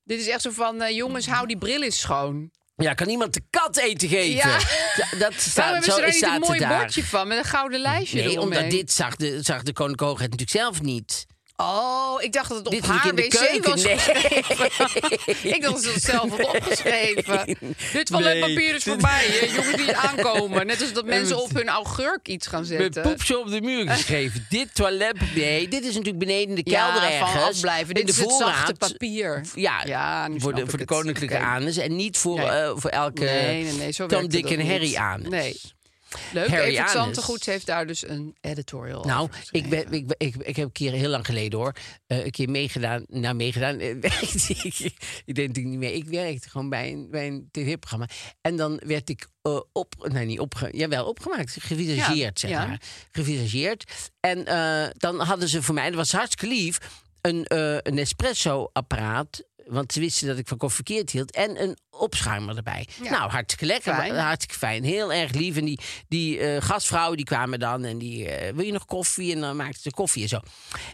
Speaker 4: Dit is echt zo van, eh, jongens, hou die bril eens schoon.
Speaker 2: Ja, kan iemand de kat eten geven?
Speaker 4: Ja.
Speaker 2: Ja, Dat
Speaker 4: Waarom
Speaker 2: staat,
Speaker 4: hebben
Speaker 2: zo
Speaker 4: ze daar niet
Speaker 2: staat
Speaker 4: een
Speaker 2: het
Speaker 4: mooi
Speaker 2: daar.
Speaker 4: bordje van... met een gouden lijstje
Speaker 2: Nee,
Speaker 4: eromheen?
Speaker 2: omdat dit zag de, zag de koninklijke hoogheid natuurlijk zelf niet.
Speaker 4: Oh, ik dacht dat het op
Speaker 2: dit
Speaker 4: haar
Speaker 2: in de
Speaker 4: wc
Speaker 2: keuken.
Speaker 4: was
Speaker 2: nee.
Speaker 4: Ik dacht dat ze dat zelf had opgeschreven. Dit toiletpapier is voorbij. hè. Jongens die het aankomen. Net als dat mensen op hun augurk iets gaan
Speaker 2: Met
Speaker 4: zetten.
Speaker 2: poepje op de muur geschreven. dit toilet... Nee, dit is natuurlijk beneden in de
Speaker 4: Ja,
Speaker 2: kelder ergens.
Speaker 4: van afblijven. Dit
Speaker 2: in de
Speaker 4: is het zachte
Speaker 2: voorraad.
Speaker 4: papier.
Speaker 2: Ja,
Speaker 4: Ja, nu
Speaker 2: voor
Speaker 4: snap
Speaker 2: de,
Speaker 4: ik
Speaker 2: voor de
Speaker 4: het.
Speaker 2: koninklijke
Speaker 4: Oké.
Speaker 2: anus. En niet voor,
Speaker 4: Nee.
Speaker 2: eh, voor elke
Speaker 4: Nee, nee, nee, zo
Speaker 2: Tom,
Speaker 4: werkte
Speaker 2: Dick
Speaker 4: dat
Speaker 2: en Harry
Speaker 4: niet.
Speaker 2: anus.
Speaker 4: Nee. Leuk,
Speaker 2: Harry
Speaker 4: Evert
Speaker 2: Anus.
Speaker 4: Zantegoed heeft daar dus een editorial
Speaker 2: Nou,
Speaker 4: over geschreven.
Speaker 2: ik, ben, ik, ben- ik, ik heb een keer heel lang geleden hoor, eh, een keer meegedaan. Nou, meegedaan. eh, werkte ik, ik deed natuurlijk niet meer. Ik werkte gewoon bij een, bij een tv-programma. En dan werd ik eh, op, nou niet opge, jawel, opgemaakt, gevisageerd,
Speaker 4: Ja,
Speaker 2: zeg
Speaker 4: ja.
Speaker 2: maar. Gevisageerd. En eh, dan hadden ze voor mij, dat was hartstikke lief, een, eh, een espresso-apparaat. Want ze wisten dat ik van koffie verkeerd hield. En een opschuimer erbij. Nou, hartstikke lekker.
Speaker 4: Fijn.
Speaker 2: wa- hartstikke fijn. Heel erg lief. En die, die eh, gastvrouwen die kwamen dan en die... eh, wil je nog koffie? En dan maakten ze koffie en zo.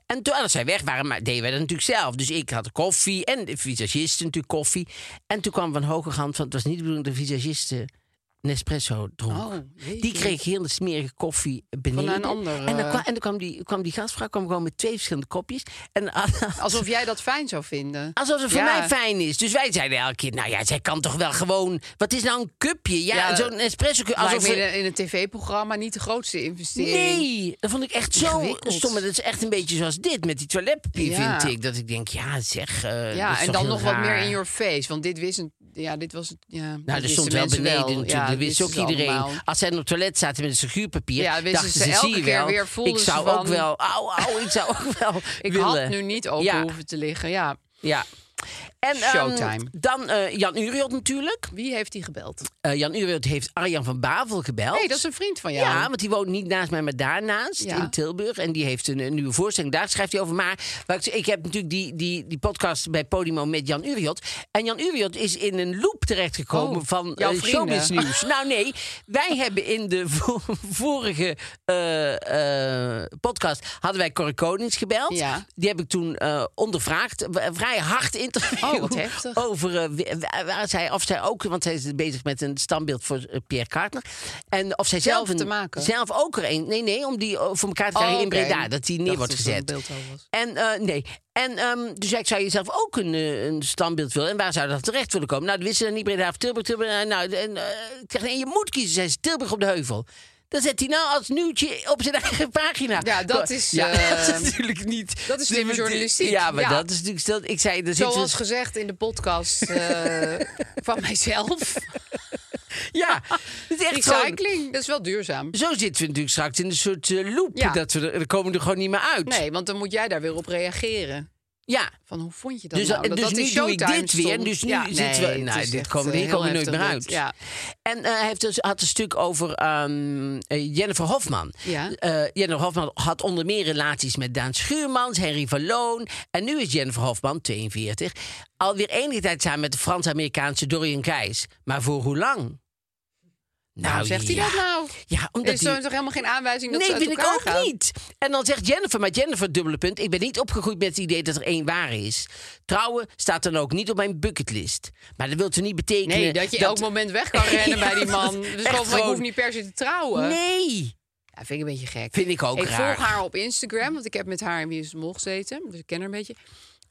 Speaker 2: En toen, als zij weg waren, maar, deden wij dat natuurlijk zelf. Dus ik had koffie en de visagisten natuurlijk koffie. En toen kwam Van Hogegand, want het was niet de bedoeling dat de visagisten Nespresso dronk.
Speaker 4: Oh, jeetje.
Speaker 2: die kreeg hele smerige koffie beneden.
Speaker 4: Van een ander,
Speaker 2: En dan
Speaker 4: eh,
Speaker 2: kwam, en dan kwam, die, kwam die gastvrouw kwam gewoon met twee verschillende kopjes. En
Speaker 4: Alsof jij dat fijn zou vinden.
Speaker 2: Alsof het voor
Speaker 4: Ja.
Speaker 2: mij fijn is. Dus wij zeiden elke keer, nou ja, zij kan toch wel gewoon... Wat is nou een cupje? Ja,
Speaker 4: Ja,
Speaker 2: zo'n espresso cup.
Speaker 4: Lijkt
Speaker 2: Alsof
Speaker 4: me in
Speaker 2: we-
Speaker 4: een, in een tv-programma niet de grootste investering.
Speaker 2: Nee, dat vond ik echt zo
Speaker 4: Ingewikkeld.
Speaker 2: stom. Maar Dat is echt een beetje zoals dit, met die toiletpapier,
Speaker 4: Ja.
Speaker 2: vind ik. Dat ik denk, ja zeg, eh, dat is
Speaker 4: Ja, en
Speaker 2: toch
Speaker 4: dan
Speaker 2: heel
Speaker 4: nog wat
Speaker 2: raar.
Speaker 4: meer in your face. Want dit wist een, ja, dit was het. Ja, dat
Speaker 2: Nou, er
Speaker 4: wisten
Speaker 2: stond wel
Speaker 4: mensen
Speaker 2: beneden natuurlijk.
Speaker 4: Ja,
Speaker 2: dat wist ook
Speaker 4: wisten ze
Speaker 2: iedereen.
Speaker 4: allemaal.
Speaker 2: Als zij op het toilet zaten met een figuurpapier,
Speaker 4: Ja, wisten
Speaker 2: dachten
Speaker 4: ze
Speaker 2: ze,
Speaker 4: elke
Speaker 2: zie je
Speaker 4: keer
Speaker 2: wel.
Speaker 4: weer, voelden
Speaker 2: ik
Speaker 4: ze
Speaker 2: zou ook
Speaker 4: van-
Speaker 2: wel, au, au, ik zou ook wel
Speaker 4: Ik
Speaker 2: willen.
Speaker 4: had nu niet open
Speaker 2: Ja,
Speaker 4: hoeven te liggen. Ja.
Speaker 2: ja. En, ehm,
Speaker 4: Showtime.
Speaker 2: dan eh, Jan Uriot natuurlijk.
Speaker 4: Wie heeft die gebeld?
Speaker 2: Eh, Jan Uriot heeft Arjan van Bavel gebeld.
Speaker 4: Nee, dat is een vriend van jou.
Speaker 2: Ja, want die woont niet naast mij, maar daarnaast
Speaker 4: Ja.
Speaker 2: in Tilburg. En die heeft een, een nieuwe voorstelling. Daar schrijft hij over. Maar wat ik, ik heb natuurlijk die, die, die podcast bij Podimo met Jan Uriot. En Jan Uriot is in een loop terechtgekomen
Speaker 4: Oh,
Speaker 2: van
Speaker 4: jouw
Speaker 2: eh,
Speaker 4: vrienden.
Speaker 2: showbiznieuws. nou nee, wij hebben in de vo- vorige eh, eh, podcast... hadden wij Corrie Konings gebeld.
Speaker 4: Ja.
Speaker 2: Die heb ik toen eh, ondervraagd. W- Een vrij hard interview.
Speaker 4: Oh, wat heftig.
Speaker 2: Over eh, w- w- waar zij, of zij ook... want zij is bezig met een standbeeld voor eh, Pierre Kartner. En of zij
Speaker 4: Zelf
Speaker 2: zelf een-
Speaker 4: te maken?
Speaker 2: Zelf ook er een. Nee, nee, om die eh, voor elkaar te krijgen
Speaker 4: Oh,
Speaker 2: in
Speaker 4: oké.
Speaker 2: Breda. Dat die
Speaker 4: Ik
Speaker 2: neer
Speaker 4: dacht
Speaker 2: wordt
Speaker 4: dat het een
Speaker 2: gezet.
Speaker 4: beeldhouw was.
Speaker 2: En eh, nee. En ehm dus ik zou je zelf ook een, eh, een standbeeld willen. En waar zou dat terecht willen komen? Nou, dat wisten ze dan niet Breda of Tilburg. Tilburg eh, nou, en, eh, ik zeg, nee, je moet kiezen, zei ze, Tilburg op de heuvel. Dan zet hij nou als nieuwtje op zijn eigen pagina.
Speaker 4: Ja, dat is,
Speaker 2: Ja, dat
Speaker 4: eh,
Speaker 2: is natuurlijk niet...
Speaker 4: dat is slimme journalistiek.
Speaker 2: Ja, maar
Speaker 4: Ja.
Speaker 2: dat is natuurlijk... stel- Ik zei, daar zitten dus- we-
Speaker 4: Zoals gezegd in de podcast eh, van mijzelf.
Speaker 2: Ja, het is echt gewoon-
Speaker 4: Recycling, dat is wel duurzaam.
Speaker 2: Zo zitten we natuurlijk straks in een soort eh, loop.
Speaker 4: Ja.
Speaker 2: Dat we er, er komen we er gewoon niet meer uit.
Speaker 4: Nee, want dan moet jij daar weer op reageren.
Speaker 2: Ja.
Speaker 4: Van hoe vond je dat
Speaker 2: Dus,
Speaker 4: nou?
Speaker 2: dus
Speaker 4: Dat dat in
Speaker 2: nu doe ik
Speaker 4: Showtime
Speaker 2: dit weer.
Speaker 4: stond.
Speaker 2: Dus nu
Speaker 4: Ja,
Speaker 2: zitten
Speaker 4: nee,
Speaker 2: we...
Speaker 4: het
Speaker 2: Nou,
Speaker 4: is
Speaker 2: dit
Speaker 4: echt,
Speaker 2: komen,
Speaker 4: eh,
Speaker 2: hier komen we
Speaker 4: heel
Speaker 2: nooit meer
Speaker 4: heftig
Speaker 2: uit.
Speaker 4: dit. Ja.
Speaker 2: En eh, hij heeft dus, had een stuk over ehm, eh, Jennifer Hofman.
Speaker 4: Ja.
Speaker 2: Eh, Jennifer Hofman had onder meer relaties met Daan Schuurmans, Henry van Loon. En nu is Jennifer Hofman, 42, alweer enige tijd samen met de Frans-Amerikaanse Dorian Gijs. Maar voor hoe lang? Nou,
Speaker 4: Nou, zegt hij
Speaker 2: ja.
Speaker 4: dat nou?
Speaker 2: Ja, omdat
Speaker 4: is
Speaker 2: hij-
Speaker 4: er toch helemaal geen aanwijzing dat
Speaker 2: nee,
Speaker 4: ze uit
Speaker 2: vind ik
Speaker 4: elkaar
Speaker 2: ook
Speaker 4: gaan?
Speaker 2: niet. En dan zegt Jennifer, maar Jennifer, dubbele punt. Ik ben niet opgegroeid met het idee dat er één waar is. Trouwen staat dan ook niet op mijn bucketlist. Maar dat wil toch niet betekenen...
Speaker 4: Nee, dat je elk moment weg kan rennen bij die man. Dus
Speaker 2: echt
Speaker 4: gewoon van, ik hoef
Speaker 2: gewoon-
Speaker 4: niet per se te trouwen.
Speaker 2: Nee.
Speaker 4: Ja, vind ik een beetje gek.
Speaker 2: Vind ik ook
Speaker 4: Ik
Speaker 2: raar.
Speaker 4: volg haar op Instagram, want ik heb met haar in Wie is de Mol gezeten. Dus ik ken haar een beetje.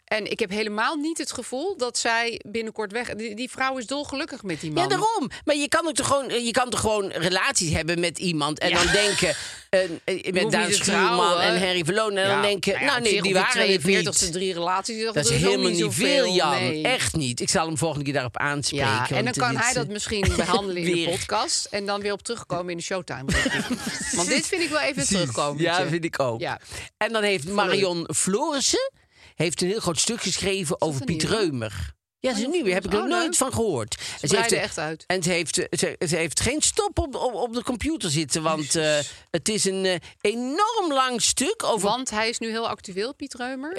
Speaker 4: En ik heb helemaal niet het gevoel dat zij binnenkort weg... Die, die vrouw is dolgelukkig met die man.
Speaker 2: Ja, daarom. Maar je kan, ook toch gewoon, je kan toch gewoon relaties hebben met iemand en
Speaker 4: Ja.
Speaker 2: dan denken... eh, eh,
Speaker 4: niet
Speaker 2: met Daan
Speaker 4: te
Speaker 2: Schuurman
Speaker 4: trouwen.
Speaker 2: en Harry Verloon. En
Speaker 4: Ja,
Speaker 2: dan denken,
Speaker 4: ja,
Speaker 2: nou
Speaker 4: op
Speaker 2: nee,
Speaker 4: zich
Speaker 2: die
Speaker 4: op je
Speaker 2: waren het
Speaker 4: 42ste
Speaker 2: niet.
Speaker 4: drie relaties.
Speaker 2: Dat is helemaal niet veel, Jan.
Speaker 4: Nee.
Speaker 2: Echt niet. Ik zal hem volgende keer daarop aanspreken.
Speaker 4: Ja, en dan
Speaker 2: want
Speaker 4: kan
Speaker 2: dit- eh,
Speaker 4: hij dat misschien behandelen in de
Speaker 2: Weer.
Speaker 4: podcast. En dan weer op terugkomen in de showtime. Want dit vind ik wel even
Speaker 2: Precies.
Speaker 4: terugkomen.
Speaker 2: Ja, vind ik ook.
Speaker 4: Ja.
Speaker 2: En dan heeft Marion Florissen heeft een heel groot stuk geschreven over
Speaker 4: een
Speaker 2: Piet
Speaker 4: nieuwe?
Speaker 2: Reumer. Ja, ze
Speaker 4: dat
Speaker 2: nu heb ik
Speaker 4: vond ik-
Speaker 2: er
Speaker 4: oh,
Speaker 2: nooit
Speaker 4: leuk.
Speaker 2: van gehoord. En
Speaker 4: breiden echt uit.
Speaker 2: En ze heeft, eh, ze, ze heeft geen stop op, op, op de computer zitten. Want eh, het is een eh, enorm lang stuk over...
Speaker 4: Want hij is nu heel actueel, Piet Reumer.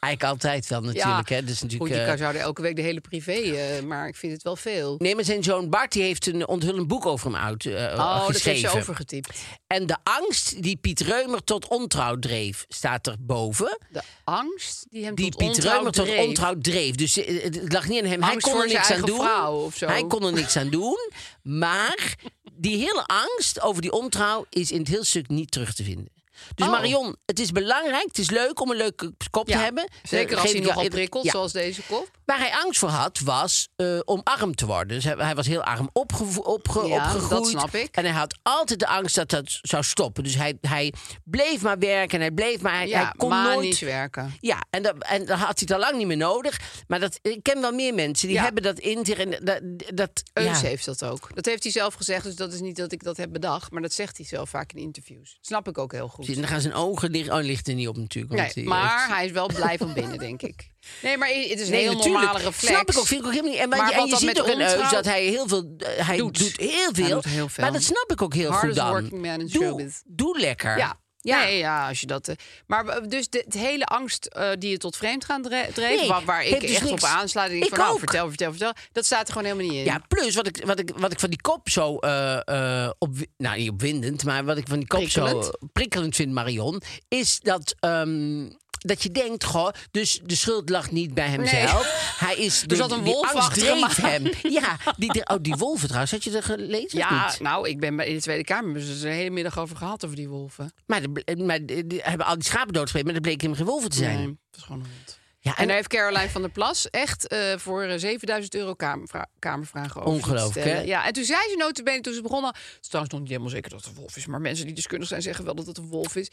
Speaker 2: Eigenlijk altijd wel natuurlijk. Hè. Dus natuurlijk
Speaker 4: Goed, je
Speaker 2: eh,
Speaker 4: kan zou er elke week de hele privé, eh, maar ik vind het wel veel.
Speaker 2: Nee, maar zijn zoon Bart die heeft een onthullend boek over hem uit, eh,
Speaker 4: oh, dat heeft
Speaker 2: geschreven.
Speaker 4: ze overgetypt.
Speaker 2: En de angst die Piet Reumer tot ontrouw dreef, staat er boven.
Speaker 4: De angst die hem
Speaker 2: die
Speaker 4: tot
Speaker 2: Piet
Speaker 4: ontrouw
Speaker 2: Reumer tot
Speaker 4: dreef.
Speaker 2: ontrouw dreef. Dus eh, het lag niet aan hem.
Speaker 4: Angst
Speaker 2: hij kon
Speaker 4: voor
Speaker 2: er
Speaker 4: zijn
Speaker 2: niks aan
Speaker 4: eigen
Speaker 2: doen.
Speaker 4: vrouw of zo.
Speaker 2: Hij kon er niks aan doen. Maar die hele angst over die ontrouw is in het heel stuk niet terug te vinden. Dus
Speaker 4: Oh.
Speaker 2: Marion, het is belangrijk. Het is leuk om een leuke kop
Speaker 4: Ja,
Speaker 2: te hebben.
Speaker 4: Zeker
Speaker 2: Eh,
Speaker 4: als
Speaker 2: geef
Speaker 4: hij
Speaker 2: ik
Speaker 4: nogal
Speaker 2: jou-
Speaker 4: prikkelt,
Speaker 2: Ja.
Speaker 4: zoals deze kop.
Speaker 2: Waar hij angst voor had, was eh, om arm te worden. Dus hij, hij was heel arm opgevo- opge-
Speaker 4: Ja, dat
Speaker 2: opgegroeid.
Speaker 4: snap ik.
Speaker 2: En hij had altijd de angst dat dat zou stoppen. Dus hij, hij bleef maar werken en hij bleef maar... Hij, hij
Speaker 4: ja,
Speaker 2: kon
Speaker 4: manisch
Speaker 2: nooit...
Speaker 4: werken.
Speaker 2: Ja, en dat, en dat had hij het al lang niet meer nodig. Maar dat, ik ken wel meer mensen die
Speaker 4: Ja.
Speaker 2: hebben dat in zich. En dat, dat,
Speaker 4: Eus
Speaker 2: ja.
Speaker 4: heeft dat ook. Dat heeft hij zelf gezegd, dus dat is niet dat ik dat heb bedacht. Maar dat zegt hij zelf vaak in interviews. Snap ik ook heel goed.
Speaker 2: En dan gaan zijn ogen liggen. Oh, ligt er niet op natuurlijk. want
Speaker 4: Nee,
Speaker 2: die
Speaker 4: maar
Speaker 2: heeft-
Speaker 4: hij is wel blij van binnen, denk ik. Nee, maar het is een
Speaker 2: Nee,
Speaker 4: heel
Speaker 2: natuurlijk.
Speaker 4: normale reflex.
Speaker 2: Snap ik ook, vind ik ook helemaal niet. En,
Speaker 4: Maar
Speaker 2: maar, en
Speaker 4: wat
Speaker 2: je
Speaker 4: dan
Speaker 2: ziet
Speaker 4: met
Speaker 2: toch in Eus
Speaker 4: ontrouw-
Speaker 2: dat hij heel veel, eh, hij
Speaker 4: Doet.
Speaker 2: doet. heel
Speaker 4: Hij
Speaker 2: veel.
Speaker 4: doet heel veel.
Speaker 2: Maar dat snap ik ook heel
Speaker 4: Hardest
Speaker 2: goed dan.
Speaker 4: working man in
Speaker 2: doe,
Speaker 4: showbiz.
Speaker 2: doe lekker.
Speaker 4: Ja.
Speaker 2: Ja.
Speaker 4: Nee, ja, als je dat. eh, Maar eh, dus de, het hele angst eh, die je tot vreemd gaan dreef,
Speaker 2: Nee,
Speaker 4: waar, waar ik
Speaker 2: heeft dus
Speaker 4: echt
Speaker 2: niks.
Speaker 4: op aansluit. en denk
Speaker 2: Ik
Speaker 4: van, nou,
Speaker 2: ook.
Speaker 4: vertel, vertel, vertel. Dat staat er gewoon helemaal niet in.
Speaker 2: Ja, plus wat ik, wat, ik, wat ik van die kop zo eh, eh, op, nou niet opwindend, maar wat ik van die kop
Speaker 4: Prikkelend.
Speaker 2: zo eh, prikkelend vind, Marion, is dat. ehm, dat je denkt, goh, dus de schuld lag niet bij hemzelf. Hij is door
Speaker 4: zat een
Speaker 2: die
Speaker 4: wolf
Speaker 2: angst
Speaker 4: achter
Speaker 2: dreef
Speaker 4: hem aan.
Speaker 2: hem. Ja, die, dre- oh, die wolven trouwens, had je dat gelezen of
Speaker 4: Ja,
Speaker 2: niet?
Speaker 4: nou, ik ben bij- in de Tweede Kamer. Dus er is een hele middag over gehad, over die wolven.
Speaker 2: Maar, de- maar de- die hebben al die schapen doodgespeeld, maar dat bleek hem geen wolven te zijn.
Speaker 4: Nee, dat is gewoon een hond.
Speaker 2: Ja,
Speaker 4: En
Speaker 2: en
Speaker 4: daar heeft Caroline van der Plas echt eh, voor eh, 7000 euro kamervra- kamervragen over
Speaker 2: Ongelooflijk,
Speaker 4: te stellen.
Speaker 2: hè?
Speaker 4: Ja, en toen zei ze notabene, toen ze begonnen... Het is trouwens nog niet helemaal zeker dat het een wolf is... maar mensen die deskundig zijn zeggen wel dat het een wolf is.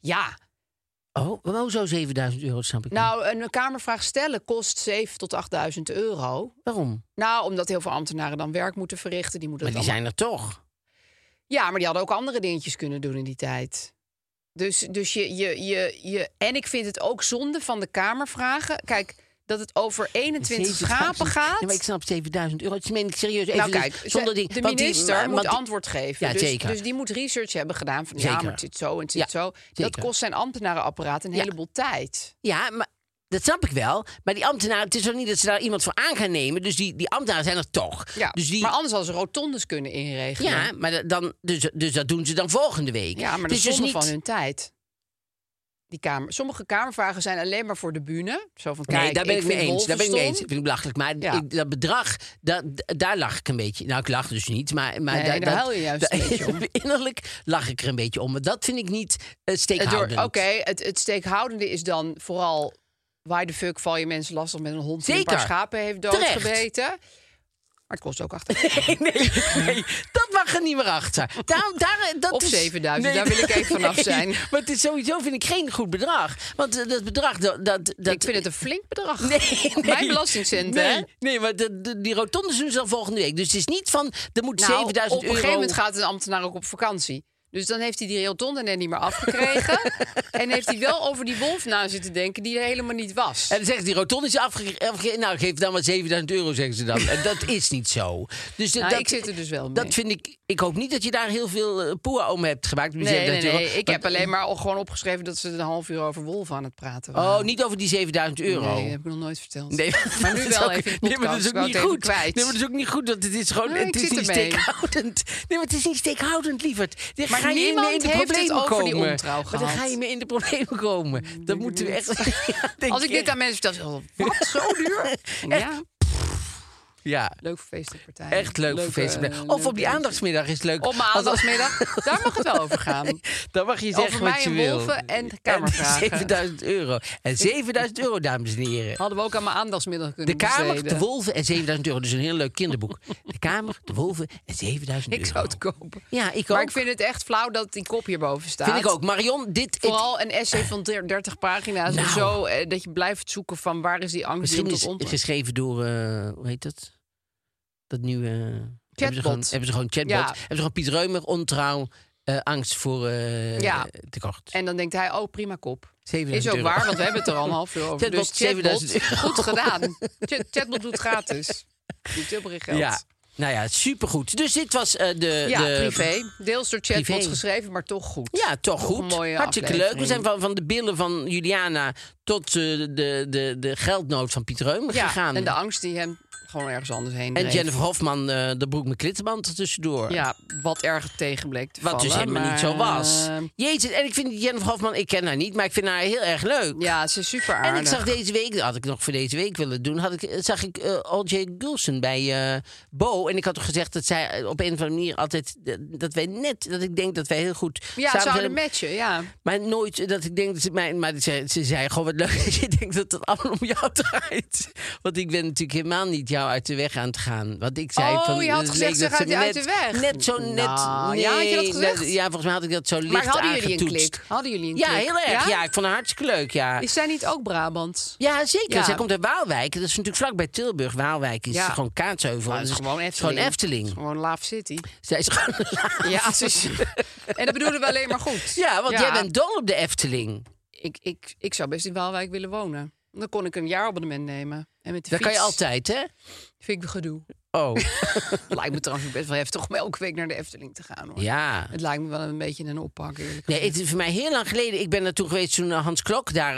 Speaker 4: Ja,
Speaker 2: oh, maar hoezo 7000 euro, dat snap ik niet.
Speaker 4: nou, een kamervraag stellen kost 7 tot 8000 euro.
Speaker 2: Waarom?
Speaker 4: Nou, omdat heel veel ambtenaren dan werk moeten verrichten. Die moeten
Speaker 2: Maar die
Speaker 4: het
Speaker 2: zijn er toch.
Speaker 4: allemaal- Ja, maar die hadden ook andere dingetjes kunnen doen in die tijd. Dus, dus je, je, je, je... En ik vind het ook zonde van de kamervragen. Kijk, dat het over 21 schapen
Speaker 2: 7000
Speaker 4: gaat...
Speaker 2: Ja, maar ik snap 7000 euro. Dat meen ik serieus even.
Speaker 4: nou, kijk,
Speaker 2: dus zonder
Speaker 4: ze-
Speaker 2: die,
Speaker 4: de
Speaker 2: want die-
Speaker 4: minister
Speaker 2: maar-
Speaker 4: moet
Speaker 2: want die-
Speaker 4: antwoord geven.
Speaker 2: Ja,
Speaker 4: dus,
Speaker 2: zeker.
Speaker 4: dus die moet research hebben gedaan van ja,
Speaker 2: Zeker.
Speaker 4: maar het zit zo en het zit
Speaker 2: Ja,
Speaker 4: zo. Dat
Speaker 2: zeker.
Speaker 4: kost zijn ambtenarenapparaat een
Speaker 2: Ja.
Speaker 4: heleboel tijd.
Speaker 2: Ja, maar dat snap ik wel. Maar die ambtenaren, het is toch niet dat ze daar iemand voor aan gaan nemen. Dus die, die ambtenaren zijn er toch.
Speaker 4: Ja,
Speaker 2: dus die,
Speaker 4: Maar anders hadden ze rotondes kunnen inregelen.
Speaker 2: ja, maar da- dan, dus, dus dat doen ze dan volgende week.
Speaker 4: Ja, maar
Speaker 2: Het
Speaker 4: dat is
Speaker 2: is dus
Speaker 4: zonde
Speaker 2: niet.
Speaker 4: van hun tijd. Die kamer. Sommige kamervragen zijn alleen maar voor de bühne. Zo van,
Speaker 2: Nee,
Speaker 4: kijk,
Speaker 2: daar ben ik,
Speaker 4: ik
Speaker 2: mee
Speaker 4: vind
Speaker 2: eens. Daar ben ik mee
Speaker 4: wolven
Speaker 2: eens.
Speaker 4: stom.
Speaker 2: Dat vind ik belachelijk. Maar
Speaker 4: Ja.
Speaker 2: ik- dat bedrag, dat, daar lag ik een beetje. Nou, ik lach dus niet. Maar, maar
Speaker 4: Nee,
Speaker 2: da-
Speaker 4: daar
Speaker 2: dat-
Speaker 4: huil je juist
Speaker 2: da-
Speaker 4: een beetje om.
Speaker 2: Innerlijk lach ik er een beetje om. Maar dat vind ik niet uh,
Speaker 4: Het door-
Speaker 2: steekhoudend.
Speaker 4: Oké, het, het steekhoudende is dan vooral... why the fuck val je mensen lastig met een hond... die een
Speaker 2: Zeker.
Speaker 4: paar schapen heeft
Speaker 2: Terecht.
Speaker 4: doodgebeten. Maar het kost ook 8
Speaker 2: Nee, nee, nee, dat mag er niet meer achter. Daar, daar, dat
Speaker 4: Of
Speaker 2: is-
Speaker 4: 7000, daar wil ik even vanaf zijn.
Speaker 2: Maar het is sowieso vind ik geen goed bedrag. Want eh, dat bedrag, dat... dat
Speaker 4: Ik vind het een flink bedrag.
Speaker 2: Nee, nee.
Speaker 4: Mijn belastingcenten, hè?
Speaker 2: Nee, nee maar de, de- die rotondes doen ze dan volgende week. Dus het is niet van, er moet
Speaker 4: Nou,
Speaker 2: 7000 euro...
Speaker 4: op een gegeven moment gaat een ambtenaar ook op vakantie. Dus dan heeft hij die Hilton en niet meer afgekregen. en heeft hij wel over die wolf na zitten denken die er helemaal niet was.
Speaker 2: En dan zeggen ze, die rotonde is afgegeven. nou, geef dan maar 7000 euro, zeggen ze dan. En dat is niet zo. Dus
Speaker 4: Nou,
Speaker 2: dat,
Speaker 4: ik zit er dus wel mee.
Speaker 2: dat vind ik... Ik hoop niet dat je daar heel veel eh, poeha om hebt gemaakt. Die
Speaker 4: Nee, nee,
Speaker 2: 7000 euro.
Speaker 4: nee. Ik
Speaker 2: Want-
Speaker 4: heb alleen maar al gewoon opgeschreven dat ze een half uur over wolf aan het praten waren.
Speaker 2: Oh, niet over die 7000 euro.
Speaker 4: Nee, dat heb ik nog nooit verteld.
Speaker 2: Nee,
Speaker 4: maar
Speaker 2: dat
Speaker 4: nu
Speaker 2: is
Speaker 4: wel
Speaker 2: ook-
Speaker 4: even in de
Speaker 2: Nee, maar dat is
Speaker 4: podcast. Ik wou
Speaker 2: ook
Speaker 4: het
Speaker 2: niet
Speaker 4: even
Speaker 2: goed.
Speaker 4: kwijt.
Speaker 2: Nee, maar dat is ook niet goed. Want het is gewoon.
Speaker 4: Nee,
Speaker 2: het
Speaker 4: ik
Speaker 2: is
Speaker 4: zit
Speaker 2: niet
Speaker 4: ermee.
Speaker 2: steekhoudend. Nee, maar het is niet steekhoudend, lieverd. Dan
Speaker 4: Maar
Speaker 2: ga je in-
Speaker 4: niemand
Speaker 2: in de
Speaker 4: heeft het
Speaker 2: problemen
Speaker 4: over die
Speaker 2: komen.
Speaker 4: ontrouw
Speaker 2: Maar dan
Speaker 4: gehad.
Speaker 2: ga je me in de problemen komen. Dan moeten we echt. Ja, denk
Speaker 4: Als ik dit
Speaker 2: echt.
Speaker 4: aan mensen vertel, ze zeggen, wat, zo duur? Ja,
Speaker 2: Ja,
Speaker 4: leuk voor feestelijke partijen.
Speaker 2: echt leuk voor
Speaker 4: Leuke, eh,
Speaker 2: Facebook. Of op
Speaker 4: leuke
Speaker 2: die
Speaker 4: mensen.
Speaker 2: aandachtsmiddag is het leuk.
Speaker 4: Op mijn
Speaker 2: Als-
Speaker 4: aandachtsmiddag, daar mag het wel over gaan.
Speaker 2: Dan mag je zeggen
Speaker 4: Over
Speaker 2: wat
Speaker 4: mij
Speaker 2: je
Speaker 4: en
Speaker 2: wil.
Speaker 4: wolven en de
Speaker 2: En die
Speaker 4: kamervragen.
Speaker 2: 7000 euro. En 7000 euro, dames en heren.
Speaker 4: Hadden we ook aan mijn aandachtsmiddag
Speaker 2: De
Speaker 4: kunnen
Speaker 2: Kamer,
Speaker 4: besteden.
Speaker 2: de Wolven en 7000 euro. Dus een heel leuk kinderboek. De Kamer, de Wolven en 7000 euro.
Speaker 4: Ik zou het kopen.
Speaker 2: Ja, ik
Speaker 4: Maar
Speaker 2: ook.
Speaker 4: ik vind het echt flauw dat die kop hierboven staat.
Speaker 2: Vind ik ook. Marion, dit... het-
Speaker 4: Vooral een essay van 30 pagina's
Speaker 2: Nou.
Speaker 4: en zo. eh, dat je blijft zoeken van waar is die angst die
Speaker 2: misschien
Speaker 4: hem tot
Speaker 2: is
Speaker 4: ontmoet.
Speaker 2: geschreven door... eh, hoe heet dat? Dat nieuwe... eh, Hebben ze
Speaker 4: Chatbot.
Speaker 2: gewoon, hebben ze gewoon chatbot.
Speaker 4: Ja.
Speaker 2: Hebben ze gewoon Piet Reumer, ontrouw, eh, angst voor eh
Speaker 4: Ja.
Speaker 2: tekort.
Speaker 4: En dan denkt hij, oh prima kop.
Speaker 2: 7000
Speaker 4: Is ook
Speaker 2: euro.
Speaker 4: waar, want we hebben het er al een half uur over.
Speaker 2: Chatbot,
Speaker 4: dus chatbot,
Speaker 2: 7000 euro.
Speaker 4: goed gedaan. Chat- Chatbot doet gratis. Doet heel veel geld.
Speaker 2: Ja. Nou ja, supergoed. Dus dit was eh, de...
Speaker 4: Ja,
Speaker 2: de,
Speaker 4: privé. Deels door chatbots
Speaker 2: Privé.
Speaker 4: geschreven, maar toch goed.
Speaker 2: Ja, toch
Speaker 4: Toch
Speaker 2: goed.
Speaker 4: een mooie
Speaker 2: Hartstikke leuk. We
Speaker 4: aflevering.
Speaker 2: zijn van, van de billen van Juliana tot eh, de, de, de geldnood van Piet Reumer
Speaker 4: Ja,
Speaker 2: gegaan.
Speaker 4: en de angst die hem gewoon ergens anders heen
Speaker 2: En
Speaker 4: dreef.
Speaker 2: Jennifer Hofman, eh, de broek met klittenband er tussendoor.
Speaker 4: Ja, wat erg tegen bleek te
Speaker 2: Wat dus
Speaker 4: vallen,
Speaker 2: helemaal niet
Speaker 4: maar,
Speaker 2: zo was.
Speaker 4: eh,
Speaker 2: Jezus, en ik vind die Jennifer Hofman, ik ken haar niet, maar ik vind haar heel erg leuk.
Speaker 4: ja, ze is super aardig.
Speaker 2: En ik zag deze week, dat had ik nog voor deze week willen doen, had ik, eh, zag ik eh, Al.J. Gulsen bij eh, Bo. En ik had toch gezegd dat zij eh, op een of andere manier altijd, eh, dat wij net, dat ik denk dat wij heel goed
Speaker 4: ja,
Speaker 2: samen
Speaker 4: zouden
Speaker 2: zijn,
Speaker 4: matchen, ja.
Speaker 2: Maar nooit eh, dat ik denk dat ze mij, maar ze, ze zei gewoon wat leuk is. Ik denk dat het allemaal om jou draait. Want ik ben natuurlijk helemaal niet jou uit de weg aan het gaan. Want ik zei
Speaker 4: Oh,
Speaker 2: van,
Speaker 4: je had
Speaker 2: het
Speaker 4: gezegd,
Speaker 2: leek
Speaker 4: ze
Speaker 2: dat
Speaker 4: gaat je uit
Speaker 2: net-
Speaker 4: de weg.
Speaker 2: Net zo net.
Speaker 4: Nou, ja, had je dat
Speaker 2: nee,
Speaker 4: gezegd?
Speaker 2: net- ja, volgens mij had ik dat zo licht
Speaker 4: Maar hadden jullie een
Speaker 2: aangetoetst.
Speaker 4: klik? Hadden jullie een
Speaker 2: Ja,
Speaker 4: klik?
Speaker 2: heel erg. Ja? ik vond haar hartstikke leuk. Ja,
Speaker 4: Is zij niet ook Brabant?
Speaker 2: ja zeker.
Speaker 4: Ja.
Speaker 2: Zij komt uit Waalwijk. Dat is natuurlijk vlakbij Tilburg. Waalwijk is
Speaker 4: Ja.
Speaker 2: gewoon kaatsheuvel.
Speaker 4: Nou, het is
Speaker 2: Dus
Speaker 4: gewoon
Speaker 2: het is
Speaker 4: Efteling.
Speaker 2: Gewoon Efteling.
Speaker 4: Gewoon Laaf City.
Speaker 2: Zij is gewoon...
Speaker 4: Ja, ze is- en dat bedoelen we alleen maar goed.
Speaker 2: Ja, want jij bent dol op de Efteling.
Speaker 4: Ik, ik, ik zou best in Waalwijk willen wonen. Dan kon ik een jaarabonnement nemen. En met de
Speaker 2: Dat kan je
Speaker 4: fiets
Speaker 2: altijd, hè?
Speaker 4: Vind ik gedoe.
Speaker 2: Oh,
Speaker 4: lijkt me trouwens ook best wel heftig om elke week naar de Efteling te gaan. Hoor.
Speaker 2: ja.
Speaker 4: Het lijkt me wel een beetje een oppak, eerlijk
Speaker 2: Nee,
Speaker 4: gezegd.
Speaker 2: het is voor mij heel lang geleden. Ik ben naartoe geweest toen eh, Hans Klok daar.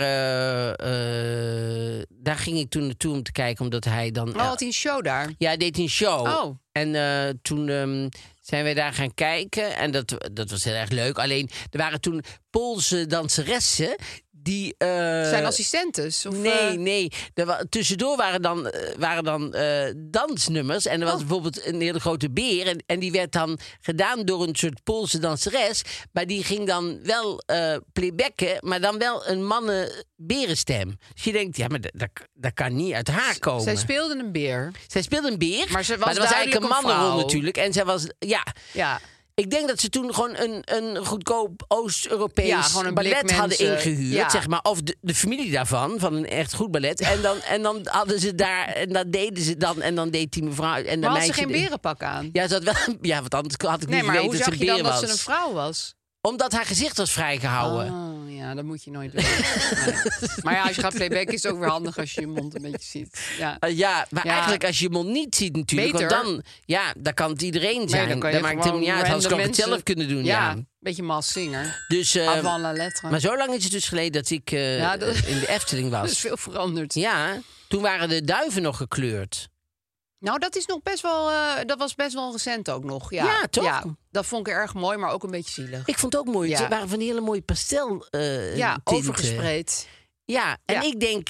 Speaker 2: eh, eh, daar ging ik toen naartoe om te kijken, omdat hij dan.
Speaker 4: Oh, had hij een show daar?
Speaker 2: Ja, hij deed een show.
Speaker 4: Oh.
Speaker 2: En eh, toen ehm, zijn wij daar gaan kijken. En dat, dat was heel erg leuk. Alleen, er waren toen Poolse danseressen die. eh,
Speaker 4: Zijn assistentes? Of,
Speaker 2: Nee,
Speaker 4: eh,
Speaker 2: nee. Er wa- tussendoor waren dan, eh, waren dan eh, dansnummers. En er
Speaker 4: Oh.
Speaker 2: was bijvoorbeeld een hele grote beer. En, en die werd dan gedaan door een soort Poolse danseres. Maar die ging dan wel eh playbacken, maar dan wel een mannen berenstem. Dus je denkt, ja, maar dat, dat, dat kan niet uit haar komen.
Speaker 4: Zij speelden een beer.
Speaker 2: Zij speelde een beer,
Speaker 4: Maar ze was
Speaker 2: er was eigenlijk een
Speaker 4: duidelijk een
Speaker 2: mannenrol
Speaker 4: vrouw.
Speaker 2: natuurlijk. En zij was, ja...
Speaker 4: Ja.
Speaker 2: Ik denk dat ze toen gewoon een, een goedkoop Oost-Europees
Speaker 4: Ja, gewoon een blik
Speaker 2: ballet hadden
Speaker 4: mensen.
Speaker 2: ingehuurd.
Speaker 4: Ja.
Speaker 2: Zeg maar, of de, de familie daarvan, van een echt goed ballet. En dan, en dan hadden ze daar, en dat deden ze dan. En dan deed die mevrouw. En dat
Speaker 4: Maar had ze
Speaker 2: meisje
Speaker 4: geen
Speaker 2: de-
Speaker 4: berenpak aan?
Speaker 2: Ja, ze had wel, een- ja, want anders had ik
Speaker 4: Nee,
Speaker 2: niet
Speaker 4: maar
Speaker 2: weten
Speaker 4: hoe
Speaker 2: dat ze
Speaker 4: zag
Speaker 2: een
Speaker 4: je
Speaker 2: beer
Speaker 4: dan dat
Speaker 2: was.
Speaker 4: ze een vrouw was?
Speaker 2: Omdat haar gezicht was vrijgehouden.
Speaker 4: Oh, ja, dat moet je nooit doen. Nee. Maar ja, als je gaat playback is het ook weer handig als je je mond een beetje ziet. Ja.
Speaker 2: Eh, ja, maar
Speaker 4: Ja.
Speaker 2: eigenlijk als je je mond niet ziet natuurlijk.
Speaker 4: Beter.
Speaker 2: Want dan, ja, dan kan het iedereen
Speaker 4: Nee,
Speaker 2: zijn.
Speaker 4: dan kan je
Speaker 2: dat maakt helemaal
Speaker 4: gewoon
Speaker 2: niet uit. Als
Speaker 4: random
Speaker 2: ik het
Speaker 4: mensen-
Speaker 2: zelf kunnen doen, ja.
Speaker 4: Ja, een beetje Mas Singer.
Speaker 2: Dus, eh,
Speaker 4: Avant la lettre.
Speaker 2: maar zo lang is het dus geleden dat ik eh,
Speaker 4: Ja, dat-
Speaker 2: in de Efteling was.
Speaker 4: Er is veel veranderd.
Speaker 2: Ja, toen waren de duiven nog gekleurd.
Speaker 4: Nou, dat is nog best wel. eh, dat was best wel recent ook nog. Ja,
Speaker 2: Ja, toch?
Speaker 4: dat vond ik erg mooi, maar ook een beetje zielig.
Speaker 2: Ik vond het ook mooi.
Speaker 4: Ja.
Speaker 2: Ze waren van die hele mooie pastel eh
Speaker 4: ja,
Speaker 2: tinten.
Speaker 4: overgespreid.
Speaker 2: Ja, en
Speaker 4: Ja.
Speaker 2: ik denk...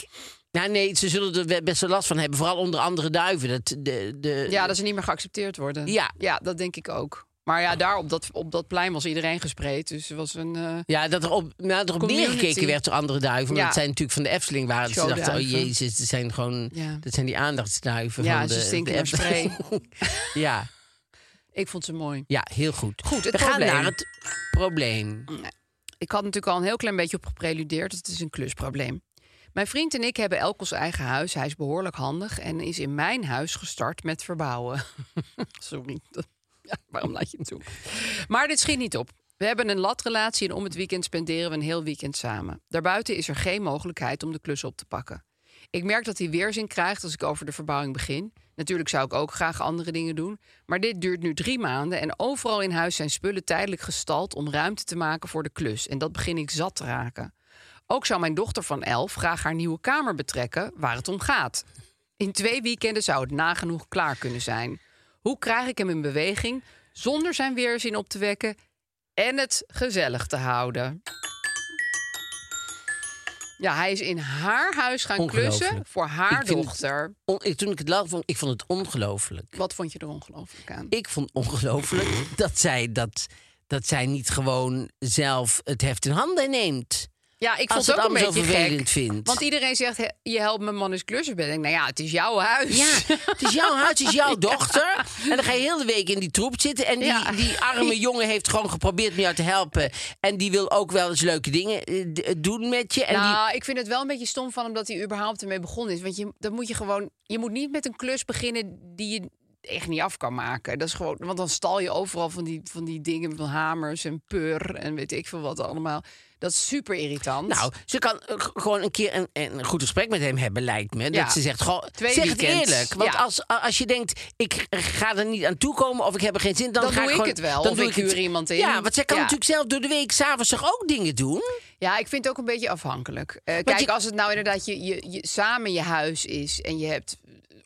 Speaker 2: Nou nee, ze zullen er we- best wel last van hebben. Vooral onder andere duiven. Dat, de, de,
Speaker 4: Ja, dat ze niet meer geaccepteerd worden.
Speaker 2: Ja.
Speaker 4: ja dat denk ik ook. Maar ja, daar op dat, op dat plein was iedereen gespreid. Dus er was een. eh,
Speaker 2: Ja, dat er op, nou, dat er op
Speaker 4: Community.
Speaker 2: neergekeken werd door andere duiven.
Speaker 4: Ja.
Speaker 2: Dat zijn natuurlijk van de Efteling waren. Ze dachten, oh
Speaker 4: Showduiven.
Speaker 2: jezus, dat zijn gewoon...
Speaker 4: Ja.
Speaker 2: Dat zijn die aandachtsduiven
Speaker 4: Ja,
Speaker 2: van de
Speaker 4: ze stinken
Speaker 2: de
Speaker 4: naar spray.
Speaker 2: Efteling. ja,
Speaker 4: ik vond ze mooi.
Speaker 2: ja, heel goed.
Speaker 4: Goed, het
Speaker 2: We
Speaker 4: probleem.
Speaker 2: gaan naar het probleem.
Speaker 4: Ik had natuurlijk al een heel klein beetje op gepreludeerd. Het is een klusprobleem. Mijn vriend en ik hebben elk ons eigen huis. Hij is behoorlijk handig en is in mijn huis gestart met verbouwen. Sorry. dat- Ja, waarom laat je het toe? Maar dit schiet niet op. We hebben een latrelatie en om het weekend spenderen we een heel weekend samen. Daarbuiten is er geen mogelijkheid om de klus op te pakken. Ik merk dat hij weerzin krijgt als ik over de verbouwing begin. Natuurlijk zou ik ook graag andere dingen doen. Maar dit duurt nu drie maanden en overal in huis zijn spullen tijdelijk gestald om ruimte te maken voor de klus. En dat begin ik zat te raken. Ook zou mijn dochter van elf graag haar nieuwe kamer betrekken waar het om gaat. In twee weekenden zou het nagenoeg klaar kunnen zijn. Hoe krijg ik hem in beweging zonder zijn weerzin op te wekken en het gezellig te houden? Ja, hij is in haar huis gaan klussen
Speaker 2: Ongelooflijk.
Speaker 4: voor haar
Speaker 2: Ik vind het-
Speaker 4: dochter.
Speaker 2: On- ik- toen ik het las, vond ik vond het ongelooflijk.
Speaker 4: Wat vond je er ongelooflijk aan?
Speaker 2: Ik vond ongelooflijk dat zij dat, dat zij niet gewoon zelf het heft in handen neemt.
Speaker 4: Ja, ik
Speaker 2: Als
Speaker 4: vond het ook
Speaker 2: het
Speaker 4: een
Speaker 2: allemaal zo
Speaker 4: beetje
Speaker 2: vervelend
Speaker 4: gek.
Speaker 2: vindt.
Speaker 4: Want iedereen zegt, "He- je helpt mijn man eens klussen. Ben ik, nou ja, het is jouw huis.
Speaker 2: Ja, het is jouw huis, het is jouw dochter. En dan ga je heel de week in die troep zitten. En die,
Speaker 4: Ja.
Speaker 2: die arme jongen heeft gewoon geprobeerd me jou te helpen. En die wil ook wel eens leuke dingen eh, d- eh, doen met je. En die,
Speaker 4: nou, ik vind het wel een beetje stom van hem dat hij überhaupt ermee begonnen is. Want je, dan moet je gewoon, je moet niet met een klus beginnen die je echt niet af kan maken. Dat is gewoon, want dan stal je overal van die, van die dingen van hamers en pur en weet ik veel wat allemaal. Dat is super irritant.
Speaker 2: nou, ze kan eh, g- gewoon een keer een, een goed gesprek met hem hebben, lijkt me.
Speaker 4: Ja.
Speaker 2: Dat ze zegt, goh,
Speaker 4: Twee
Speaker 2: zeg het
Speaker 4: weekends.
Speaker 2: eerlijk. Want
Speaker 4: Ja.
Speaker 2: als, als je denkt, ik ga er niet aan toekomen of ik heb er geen zin... Dan,
Speaker 4: Dan
Speaker 2: ga
Speaker 4: doe
Speaker 2: ik
Speaker 4: ik
Speaker 2: gewoon-
Speaker 4: het wel,
Speaker 2: Dan
Speaker 4: of
Speaker 2: doe
Speaker 4: ik huur iemand in.
Speaker 2: Ja, want zij kan
Speaker 4: Ja.
Speaker 2: natuurlijk zelf door de week s'avonds toch ook dingen doen.
Speaker 4: Ja, ik vind het ook een beetje afhankelijk. Eh, kijk,
Speaker 2: je-
Speaker 4: als het nou inderdaad je, je, je, samen je huis is en je hebt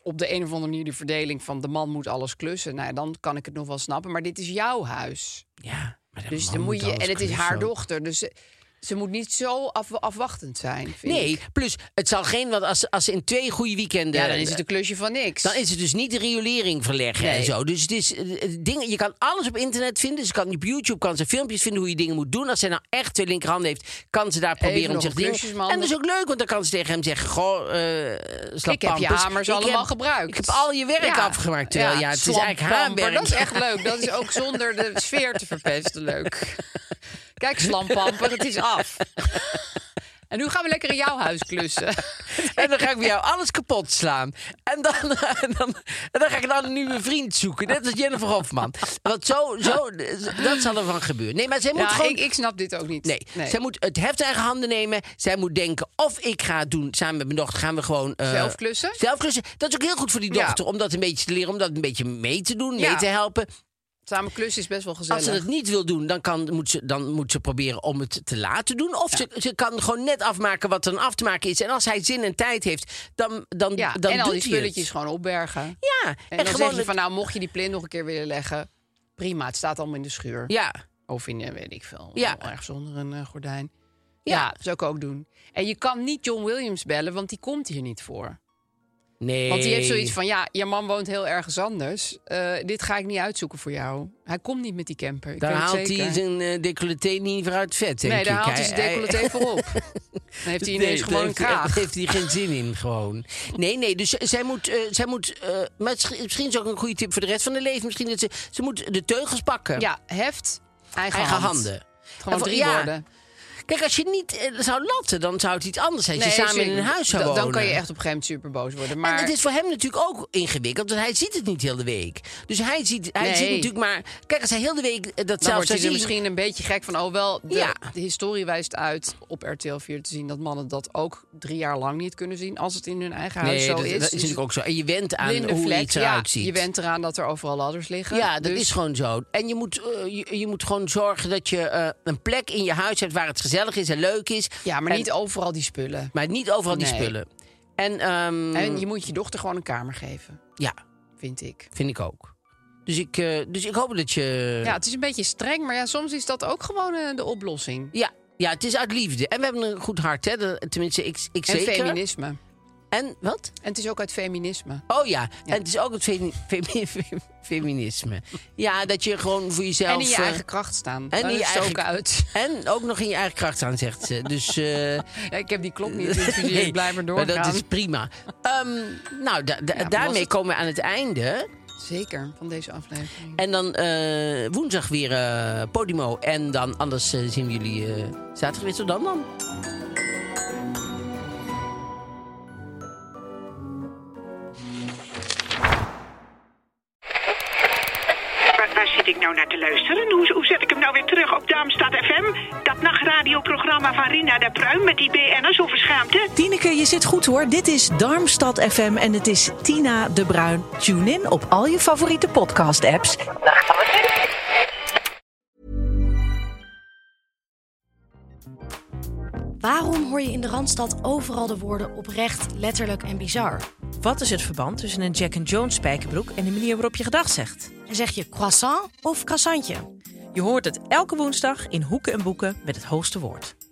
Speaker 4: op de een of andere manier de verdeling van de man moet alles klussen, nou, ja, dan kan ik het nog wel snappen. Maar dit is jouw huis.
Speaker 2: Ja, maar de
Speaker 4: Dus
Speaker 2: man
Speaker 4: dan moet je,
Speaker 2: alles
Speaker 4: en het is
Speaker 2: kunnen
Speaker 4: haar
Speaker 2: zo.
Speaker 4: dochter. Dus ze, ze moet niet zo af- afwachtend zijn. Vind
Speaker 2: Nee,
Speaker 4: ik.
Speaker 2: plus het zal geen, want als, als ze in twee goede weekenden...
Speaker 4: Ja, dan is het een klusje van niks.
Speaker 2: Dan is het dus niet de riolering verleggen en
Speaker 4: Nee.
Speaker 2: zo. Dus het is, eh, eh, dingen, je kan alles op internet vinden. Ze kan op YouTube kan ze filmpjes vinden hoe je dingen moet doen. Als zij nou echt twee linkerhanden heeft, kan ze daar proberen om
Speaker 4: nog
Speaker 2: zich
Speaker 4: een
Speaker 2: dingen...
Speaker 4: klusjesman.
Speaker 2: En dat is ook leuk, want dan kan ze tegen hem zeggen... Goh, eh slap
Speaker 4: Ik heb je
Speaker 2: pampers.
Speaker 4: hamers
Speaker 2: Ik
Speaker 4: allemaal
Speaker 2: heb-
Speaker 4: gebruikt.
Speaker 2: Ik heb al je werk
Speaker 4: Ja.
Speaker 2: afgemaakt. Terwijl, ja, het is
Speaker 4: slap
Speaker 2: eigenlijk haar
Speaker 4: pamper,
Speaker 2: werk.
Speaker 4: Dat is echt leuk. Dat is ook zonder de sfeer te verpesten leuk. Kijk, slampamper, het is af. En nu gaan we lekker in jouw huis klussen.
Speaker 2: En dan ga ik bij jou alles kapot slaan. En dan, en dan, en dan ga ik dan een nieuwe vriend zoeken. Net als Jennifer Hofman. Want zo, zo, dat zal er van gebeuren. Nee, maar zij moet
Speaker 4: Ja,
Speaker 2: gewoon...
Speaker 4: ik, ik snap dit ook niet.
Speaker 2: Nee, zij moet het heft in eigen handen nemen. Zij moet denken, of ik ga het doen samen met mijn dochter, gaan we gewoon... eh,
Speaker 4: Zelf klussen?
Speaker 2: Zelf klussen. Dat is ook heel goed voor die
Speaker 4: Ja.
Speaker 2: dochter, om dat een beetje te leren, om dat een beetje mee te doen, mee
Speaker 4: Ja.
Speaker 2: te helpen.
Speaker 4: Samen klussen is best wel
Speaker 2: Als
Speaker 4: gezellig.
Speaker 2: ze dat niet wil doen, dan, kan, moet ze, dan moet ze proberen om het te laten doen. Of ze, ze kan gewoon net afmaken wat er aan af te maken is. En als hij zin en tijd heeft, dan, dan,
Speaker 4: ja,
Speaker 2: dan
Speaker 4: en
Speaker 2: doet
Speaker 4: al die
Speaker 2: hij
Speaker 4: spulletjes
Speaker 2: het.
Speaker 4: gewoon opbergen.
Speaker 2: Ja,
Speaker 4: En, dan
Speaker 2: gewoon
Speaker 4: zeg je
Speaker 2: het-
Speaker 4: van, nou, mocht je die plint nog een keer willen leggen... prima, het staat allemaal in de schuur.
Speaker 2: Ja,
Speaker 4: Of in, eh, weet ik veel,
Speaker 2: Ja.
Speaker 4: ergens onder een eh, gordijn.
Speaker 2: Ja.
Speaker 4: Ja. zou ik ook doen. En je kan niet John Williams bellen, want die komt hier niet voor.
Speaker 2: nee.
Speaker 4: Want die heeft zoiets van, ja, je man woont heel ergens anders. Eh, dit ga ik niet uitzoeken voor jou. Hij komt niet met die camper. Ik
Speaker 2: Daar
Speaker 4: weet het
Speaker 2: haalt
Speaker 4: zeker.
Speaker 2: hij zijn eh, decolleté niet voor uit vet, denk
Speaker 4: Nee, daar
Speaker 2: ik.
Speaker 4: haalt hij zijn decolleté voor op. Dan heeft hij ineens
Speaker 2: Nee,
Speaker 4: gewoon een
Speaker 2: daar heeft-
Speaker 4: kraag.
Speaker 2: Heeft hij geen zin in, gewoon. Nee, nee, dus zij moet... eh, zij moet eh, maar het is- misschien is ook een goede tip voor de rest van haar leven. Misschien dat ze... Ze moet de teugels pakken.
Speaker 4: Ja, heft, eigen,
Speaker 2: Eigen
Speaker 4: hand.
Speaker 2: handen.
Speaker 4: Gewoon
Speaker 2: Of-
Speaker 4: drie
Speaker 2: ja.
Speaker 4: woorden.
Speaker 2: Kijk, als je niet eh, zou latten, dan zou het iets anders zijn. Als je samen in
Speaker 4: zeker.
Speaker 2: een huis zou
Speaker 4: dan,
Speaker 2: wonen.
Speaker 4: Dan kan je echt op een gegeven moment super boos worden. Maar
Speaker 2: En het is voor hem natuurlijk ook ingewikkeld, want hij ziet het niet heel de week. Dus hij ziet, hij
Speaker 4: Nee.
Speaker 2: ziet natuurlijk maar... Kijk, als hij heel de week eh, dat
Speaker 4: dan
Speaker 2: zelf
Speaker 4: wordt
Speaker 2: zou
Speaker 4: hij er
Speaker 2: zien...
Speaker 4: misschien een beetje gek van. Oh, wel, de,
Speaker 2: Ja.
Speaker 4: de historie wijst uit op RTL 4 te zien... dat mannen dat ook drie jaar lang niet kunnen zien... als het in hun eigen huis
Speaker 2: Nee,
Speaker 4: zo
Speaker 2: dat, dat
Speaker 4: is.
Speaker 2: is natuurlijk ook zo. En je went aan
Speaker 4: blinde
Speaker 2: hoe
Speaker 4: vlek,
Speaker 2: iets
Speaker 4: ja,
Speaker 2: eruit ziet.
Speaker 4: Je went eraan dat er overal ladders liggen.
Speaker 2: Ja, dat
Speaker 4: Dus-
Speaker 2: is gewoon zo. En je moet, eh, je, je moet gewoon zorgen dat je eh, een plek in je huis hebt waar het gezellig is en leuk is.
Speaker 4: Ja, maar
Speaker 2: En-
Speaker 4: niet overal die spullen.
Speaker 2: maar niet overal die
Speaker 4: Nee.
Speaker 2: spullen. En, ehm,
Speaker 4: En je moet je dochter gewoon een kamer geven,
Speaker 2: ja,
Speaker 4: vind ik.
Speaker 2: vind ik ook. Dus ik, eh, dus ik hoop dat je.
Speaker 4: Ja, het is een beetje streng, maar ja, soms is dat ook gewoon eh, de oplossing.
Speaker 2: ja, ja, het is uit liefde. En we hebben een goed hart, hè? Dat- Tenminste, ik, ik
Speaker 4: En
Speaker 2: zeker.
Speaker 4: feminisme. En
Speaker 2: En wat?
Speaker 4: het is ook uit feminisme.
Speaker 2: Oh ja, en het is ook het femi- femi- femi- feminisme. Ja, dat je gewoon voor jezelf.
Speaker 4: en in je
Speaker 2: eh,
Speaker 4: eigen kracht staan.
Speaker 2: en
Speaker 4: En
Speaker 2: in
Speaker 4: je
Speaker 2: je
Speaker 4: eigen... ook
Speaker 2: eigen-
Speaker 4: uit.
Speaker 2: en ook nog in je eigen kracht aan, zegt ze. Dus. eh,
Speaker 4: Ja, ik heb die klok niet, dus die- ik blijf maar doorgaan.
Speaker 2: dat is prima. Ehm, nou, da- da-
Speaker 4: maar was
Speaker 2: daarmee
Speaker 4: het-
Speaker 2: komen we aan het einde.
Speaker 4: Zeker, van deze aflevering.
Speaker 2: En dan eh, woensdag weer eh, Podimo. En dan anders eh, zien we jullie eh, zaterdag weer. Tot dan dan.
Speaker 5: Waar, waar zit ik nou nou naar te luisteren? Hoe, hoe zet ik hem nou weer terug op Darmstad FM? Dat nachtradioprogramma van Rina de Pruim met die BN'ers over schaamte?
Speaker 6: Tineke, je zit goed hoor. Dit is Darmstad FM en het is Tina de Bruin. Tune in op al je favoriete podcast-apps.
Speaker 7: Waarom hoor je in de Randstad overal de woorden oprecht, letterlijk en bizar?
Speaker 2: Wat is het verband tussen een Jack and Jones spijkerbroek en de manier waarop je gedag zegt?
Speaker 7: En zeg je croissant of croissantje?
Speaker 2: Je hoort het elke woensdag in Hoeken en Boeken met het hoogste woord.